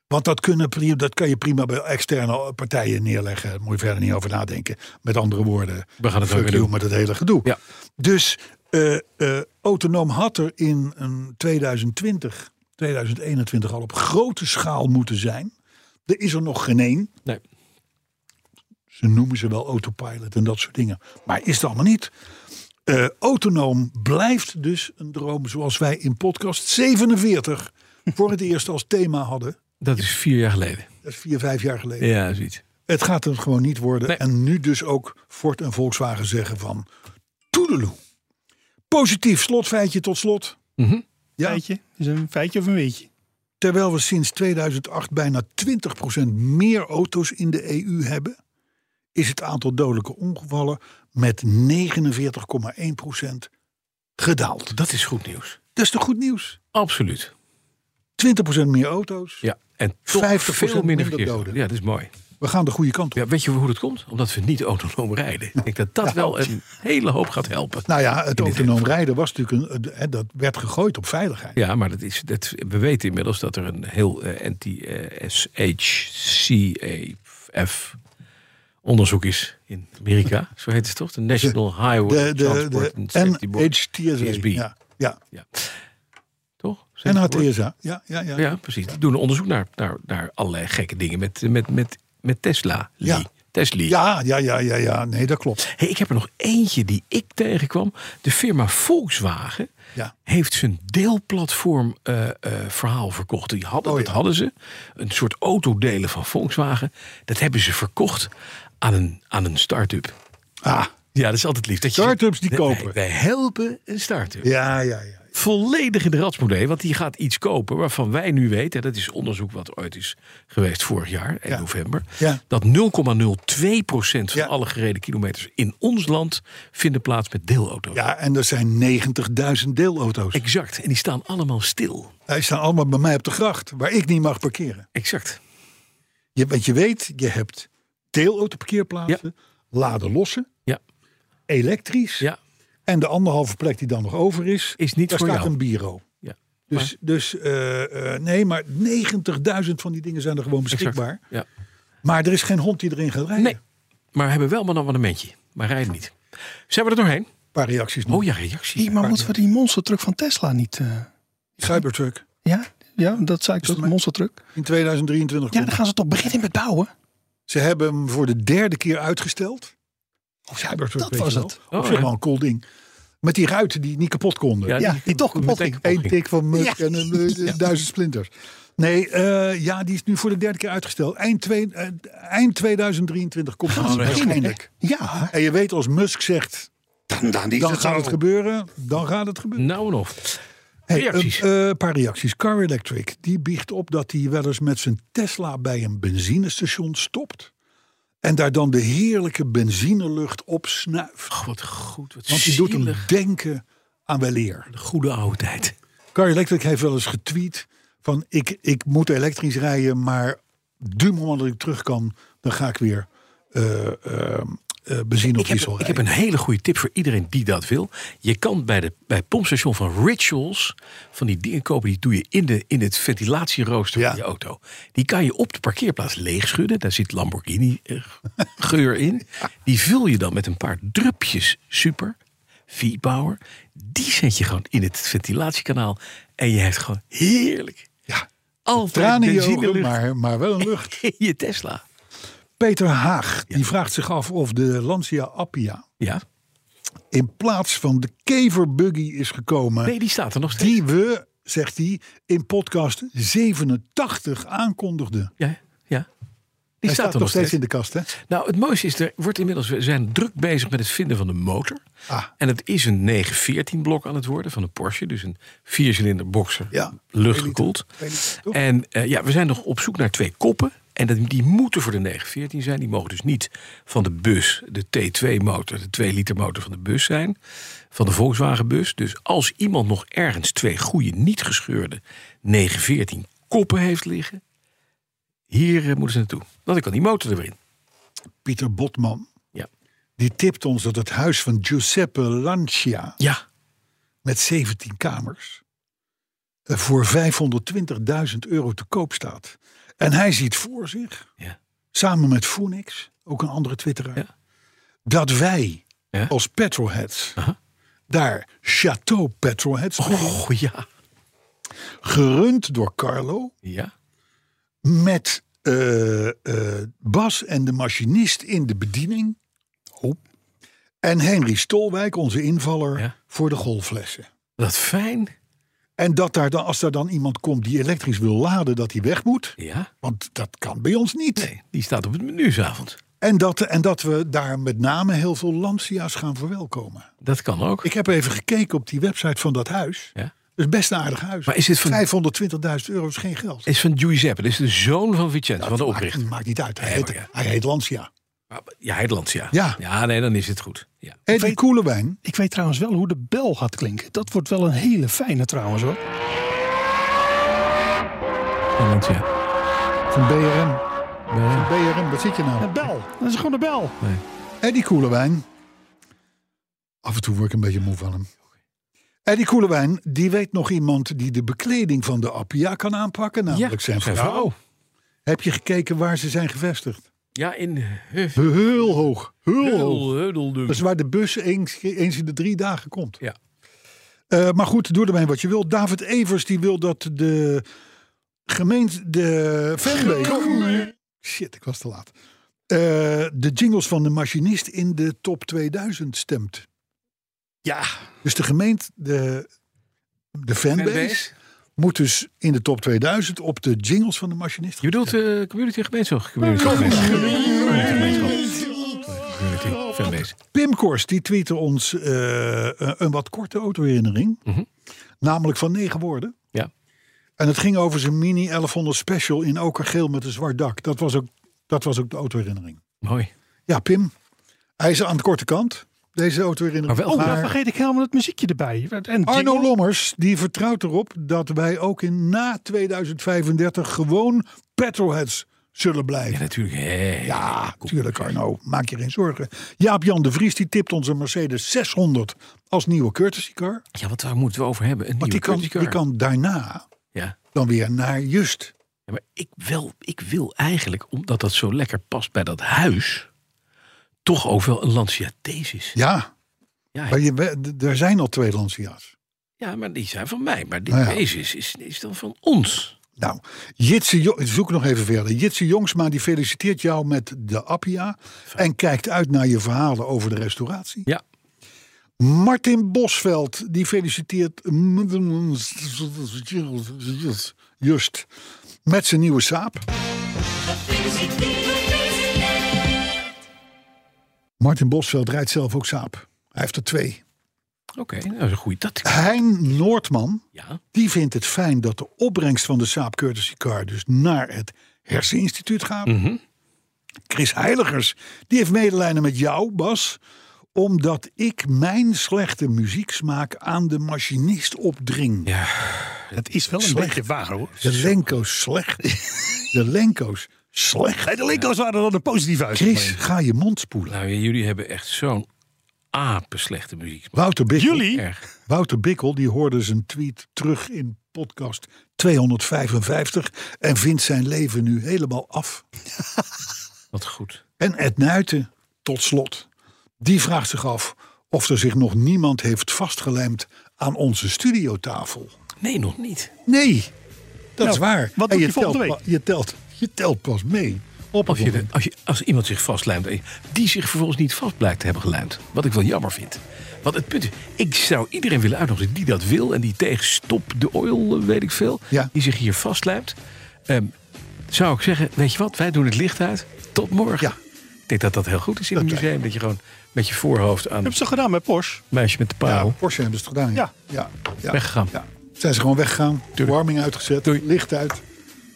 Want dat, kunnen, pri- dat kan je prima bij externe partijen neerleggen. Daar moet je verder niet over nadenken. Met andere woorden, We gaan het ook fuck weer you doen. met het hele gedoe. Ja. Dus eh, eh, Autonoom had er in een 2020, 2021 al op grote schaal moeten zijn. Er is er nog geen één. Nee. Ze noemen ze wel autopilot en dat soort dingen. Maar is het allemaal niet. Eh, autonoom blijft dus een droom zoals wij in podcast 47 voor het eerst als thema hadden. Dat is vier jaar geleden. Dat is vier, vijf jaar geleden. Ja, zoiets. Het gaat hem gewoon niet worden. Nee. En nu dus ook Ford en Volkswagen zeggen van... Toedeloe. Positief slotfeitje tot slot. Mhm. Ja. Feitje. Is een feitje of een weetje? Terwijl we sinds 2008 bijna 20% meer auto's in de EU hebben... is het aantal dodelijke ongevallen met 49,1% gedaald. Dat is goed nieuws. Dat is toch goed nieuws? Absoluut. 20% meer auto's. Ja. En toch 50% veel minder, minder verkeers- doden. Ja, dat is mooi. We gaan de goede kant op. Ja, weet je hoe dat komt? Omdat we niet autonoom rijden. Ik denk dat dat wel een hele hoop gaat helpen. Nou ja, het In dit autonoom rijden was natuurlijk een, eh, dat werd gegooid op veiligheid. Ja, maar dat is, dat, we weten inmiddels dat er een heel eh NTSHCAF onderzoek is in Amerika. Zo heet het toch? De National Highway De, de, Transport de and Safety Board. NHTSB. TSB. Ja, ja. Ja. Toch? En Zijn het woord? HTSA. Ja, ja, ja. Ja, precies. Die doen een onderzoek naar, naar, naar allerlei gekke dingen met, met, met, met Tesla. Lee. Ja. Tesla. Ja, ja, ja, ja, ja. Nee, dat klopt. Hey, ik heb er nog eentje die ik tegenkwam. De firma Volkswagen Ja. heeft zijn deelplatform eh, eh, verhaal verkocht. Die hadden, Oh, dat ja. hadden ze. Een soort autodelen van Volkswagen. Dat hebben ze verkocht aan een, aan een start-up. Ah, Ja, dat is altijd lief. Dat je- Start-ups die Wij- kopen. Wij, helpen een start-up. ja, ja, ja. Volledig in de ratsmodee, want die gaat iets kopen waarvan wij nu weten, dat is onderzoek wat ooit is geweest vorig jaar, in Ja. november, Ja. dat 0,02% van Ja. alle gereden kilometers in ons land vinden plaats met deelauto's. Ja, en er zijn 90.000 deelauto's. Exact. En die staan allemaal stil. Hij staan allemaal bij mij op de gracht, waar ik niet mag parkeren. Exact. Je, want je weet, je hebt deelautoparkeerplaatsen, laden lossen, Ja. elektrisch. Ja. En de anderhalve plek die dan nog over is, Is niet daar voor staat jou. een bureau. Ja. Dus, dus eh, eh, nee, maar 90.000 van die dingen zijn er gewoon beschikbaar. Ja. Maar er is geen hond die erin gaat rijden. Nee. Maar we hebben wel maar een abonnementje. Maar rijden niet. Zijn we er doorheen? paar reacties. Oh ja, reacties. Hey, maar moeten we die monstertruck van Tesla niet... eh, Cybertruck. Ja, ja dat zei ik toch, monstertruck. In 2023. Ja, dan gaan ze toch beginnen met bouwen? Ze hebben hem voor de derde keer uitgesteld. Oh, Cybertruck, dat weet was je het. Wel. Op Oh, zich ja. wel een cool ding. Met die ruiten die niet kapot konden. Ja, die- die toch kapot gingen. Eén tik van muk en een, eh, duizend splinters. Nee, eh, ja, die is nu voor de derde keer uitgesteld. Eind, twee, eh, eind 2023 komt Gaan het ze beginnen, waarschijnlijk. Ah, Ja. En je weet als Musk zegt, dan, is het gaat zo. het gebeuren. Dan gaat het gebeuren. Nou en of. Hey, Reacties. Een eh, paar reacties. Car Electric die biecht op dat hij wel eens met zijn Tesla bij een benzinestation stopt. En daar dan de heerlijke benzinelucht op snuift. wat goed, wat Want die doet hem denken aan weleer. De goede oude tijd. Car Electric heeft wel eens getweet van ik, ik moet elektrisch rijden, maar du moment dat ik terug kan, dan ga ik weer eh, eh, eh, benzine op Ik heb, diesel ik rijden. heb een hele goede tip voor iedereen die dat wil. Je kan bij, de, bij het pompstation van Rituals van die dingen kopen. Die doe je in, de, in het ventilatierooster van je auto. Die kan je op de parkeerplaats leegschudden. Daar zit Lamborghini eh, geur in. Die vul je dan met een paar drupjes super. Feedpower. Die zet je gewoon in het ventilatiekanaal. En je hebt gewoon heerlijk. Ja. Altijd Tranen in je benzinelucht ogen, maar, maar wel een lucht. in je Tesla. Peter Haag die vraagt zich af of de Lancia Appia Ja. in plaats van de keverbuggy is gekomen. Nee, die staat er nog steeds. Die we, zegt hij, in podcast 87 aankondigden. Ja, ja. Die staat er nog nog steeds steeds. in de kast, hè? Nou, het mooiste is, er wordt inmiddels, we zijn druk bezig met het vinden van de motor. Ah. En het is een 914 blok aan het worden van een Porsche. Dus een viercilinder boxer, Ja. luchtgekoeld. En eh, ja, we zijn nog op zoek naar twee koppen. En dat, die moeten voor de 914 zijn. Die mogen dus niet van de bus, de T2-motor, de 2-liter motor van de bus zijn. Van de Volkswagenbus. Dus als iemand nog ergens twee goede, niet gescheurde 914 koppen heeft liggen. Hier eh, moeten ze naartoe. Dan kan die motor er weer in. Pieter Botman. Ja. Die tipt ons dat het huis van Giuseppe Lancia Ja. met 17 kamers eh, voor 520.000 euro te koop staat. En hij ziet voor zich, Ja. samen met Phoenix, ook een andere twitteraar, Ja. dat wij Ja. als petrolheads daar Chateau Petrolheads beginnen, Oh ja. gerund door Carlo, Ja. met eh, eh, Bas en de machinist in de bediening. En Henry Stolwijk, onze invaller, Ja. voor de golfflessen. Wat fijn. En dat daar dan, als daar dan iemand komt die elektrisch wil laden, dat hij weg moet. Ja. Want dat kan bij ons niet. Nee, die staat op het menu 's avonds. En, dat, en dat we daar met name heel veel Lancia's gaan verwelkomen. Dat kan ook. Ik heb even gekeken op die website van dat huis. Ja. Dat is best een aardig huis. Maar is dit van- 520.000 euro is geen geld. Is van Giuseppe. Dat is de zoon van Vicente, van de oprichter. Maakt, maakt niet uit. Hij, Nee, heet, maar ja. hij heet Lancia. Ah, Ja, Heidlands, ja. Ja. Ja, nee, dan is het goed. Ja. Eddie Koelewijn. Ik weet trouwens wel hoe de bel gaat klinken. Dat wordt wel een hele fijne trouwens hoor. Heidlands, ja. Van BRM. Van BRM, wat zit je nou? Een bel. Dat is gewoon een bel. Eddie Koelewijn. Af en toe word ik een beetje moe van hem. Eddie Koelewijn, die weet nog iemand die de bekleding van de Appia kan aanpakken. Namelijk zijn vrouw. Heb je gekeken waar ze zijn gevestigd? Ja, in Huf- Heel hoog. Heel hoog. Heul- Heudeldum. Dat is Dus waar de bus eens, eens in de drie dagen komt. Ja. Eh, maar goed, doe ermee wat je wil. David Evers die wil dat de gemeente, de fanbase... Shit, ik was te laat. Eh, de jingles van de machinist in de top 2000 stemt. Ja. Dus de gemeente, de, de fanbase, Fanbase. moet dus in de top 2000 op de jingles van de machinist. Je bedoelt eh, community en gemeenschap. Community en gemeenschap. Community en gemeenschap. Community, fanbase. Pimkorst die tweette ons eh, een, een wat korte autoherinnering. Namelijk van negen woorden. Mhm. Ja. En het ging over zijn Mini 1100 Special in okergeel met een zwart dak. Dat was ook, dat was ook de autoherinnering. Mooi. Ja, Pim. Hij is aan de korte kant, deze autoherinnering. Maar wel Oh, daar vergeet ik helemaal het muziekje erbij. En Arno jingle. Lommers die vertrouwt erop dat wij ook in na 2035 gewoon petrolheads zullen blijven. Ja, natuurlijk. Hey. Ja, tuurlijk Arno. Maak je geen zorgen. Jaap-Jan de Vries die tipt onze Mercedes 600 als nieuwe courtesy car. Ja, want daar moeten we over hebben. Een Want die nieuwe kan, cursus die kan daarna Ja. dan weer naar Just. Ja, maar ik, wel, ik wil eigenlijk, omdat dat zo lekker past bij dat huis, toch ook wel een Lancia Thesis. Ja, Ja, maar je, we- d- er zijn al twee Lancia's. Ja, maar die zijn van mij. Maar dit, Nou ja. deze is, is, is dan van ons. Nou, Jitse, Jo- ik zoek nog even verder. Jitse Jongsma die feliciteert jou met de Appia. En kijkt uit naar je verhalen over de restauratie. Ja. Martin Bosveld die feliciteert Just met zijn nieuwe saap. Martin Bosveld rijdt zelf ook saap. Hij heeft er twee. Oké, nou, dat is een goeie. Dat, Hein Noordman, Ja. die vindt het fijn dat de opbrengst van de Saab Courtesy Car dus naar het herseninstituut gaat. Mhm. Chris Heiligers, die heeft medelijden met jou, Bas, omdat ik mijn slechte muzieksmaak aan de machinist opdring. Ja, dat is wel een beetje waar hoor. De Lenko's slecht. De Lenko's slecht. Nee, de Lincolns waren dan een positieve uitzending. Chris, ga je mond spoelen. nou, jullie hebben echt zo'n apenslechte muziek. Wouter Bikkel, Jullie? Erg. Wouter Bikkel die hoorde zijn tweet terug in podcast 255 en vindt zijn leven nu helemaal af. Wat goed. En Ed Nuiten, tot slot, die vraagt zich af of er zich nog niemand heeft vastgelijmd aan onze studiotafel. Nee, nog niet. Nee, dat Nou, is waar. wat En doe je volgende telt week? pa- Je telt, je telt pas mee. Op Als, je, het de- moment. als, je, als iemand zich vastlijmt, eh, die zich vervolgens niet vast blijkt te hebben gelijmd. Wat ik wel jammer vind. Want het punt is, ik zou iedereen willen uitnodigen die dat wil en die tegen stop de oil, eh, weet ik veel, Ja. die zich hier vastlijmt. Ehm, zou ik zeggen, weet je wat, wij doen het licht uit. Tot morgen. Ja. Ik denk dat dat heel goed is in het museum. Dat je gewoon met je voorhoofd aan Heb het ze gedaan met Porsche? meisje met de Ja, paal Porsche hebben ze het gedaan. Ja. ja. ja. weggegaan. Ja. Zijn ze gewoon weggegaan. Warming uitgezet. Licht uit.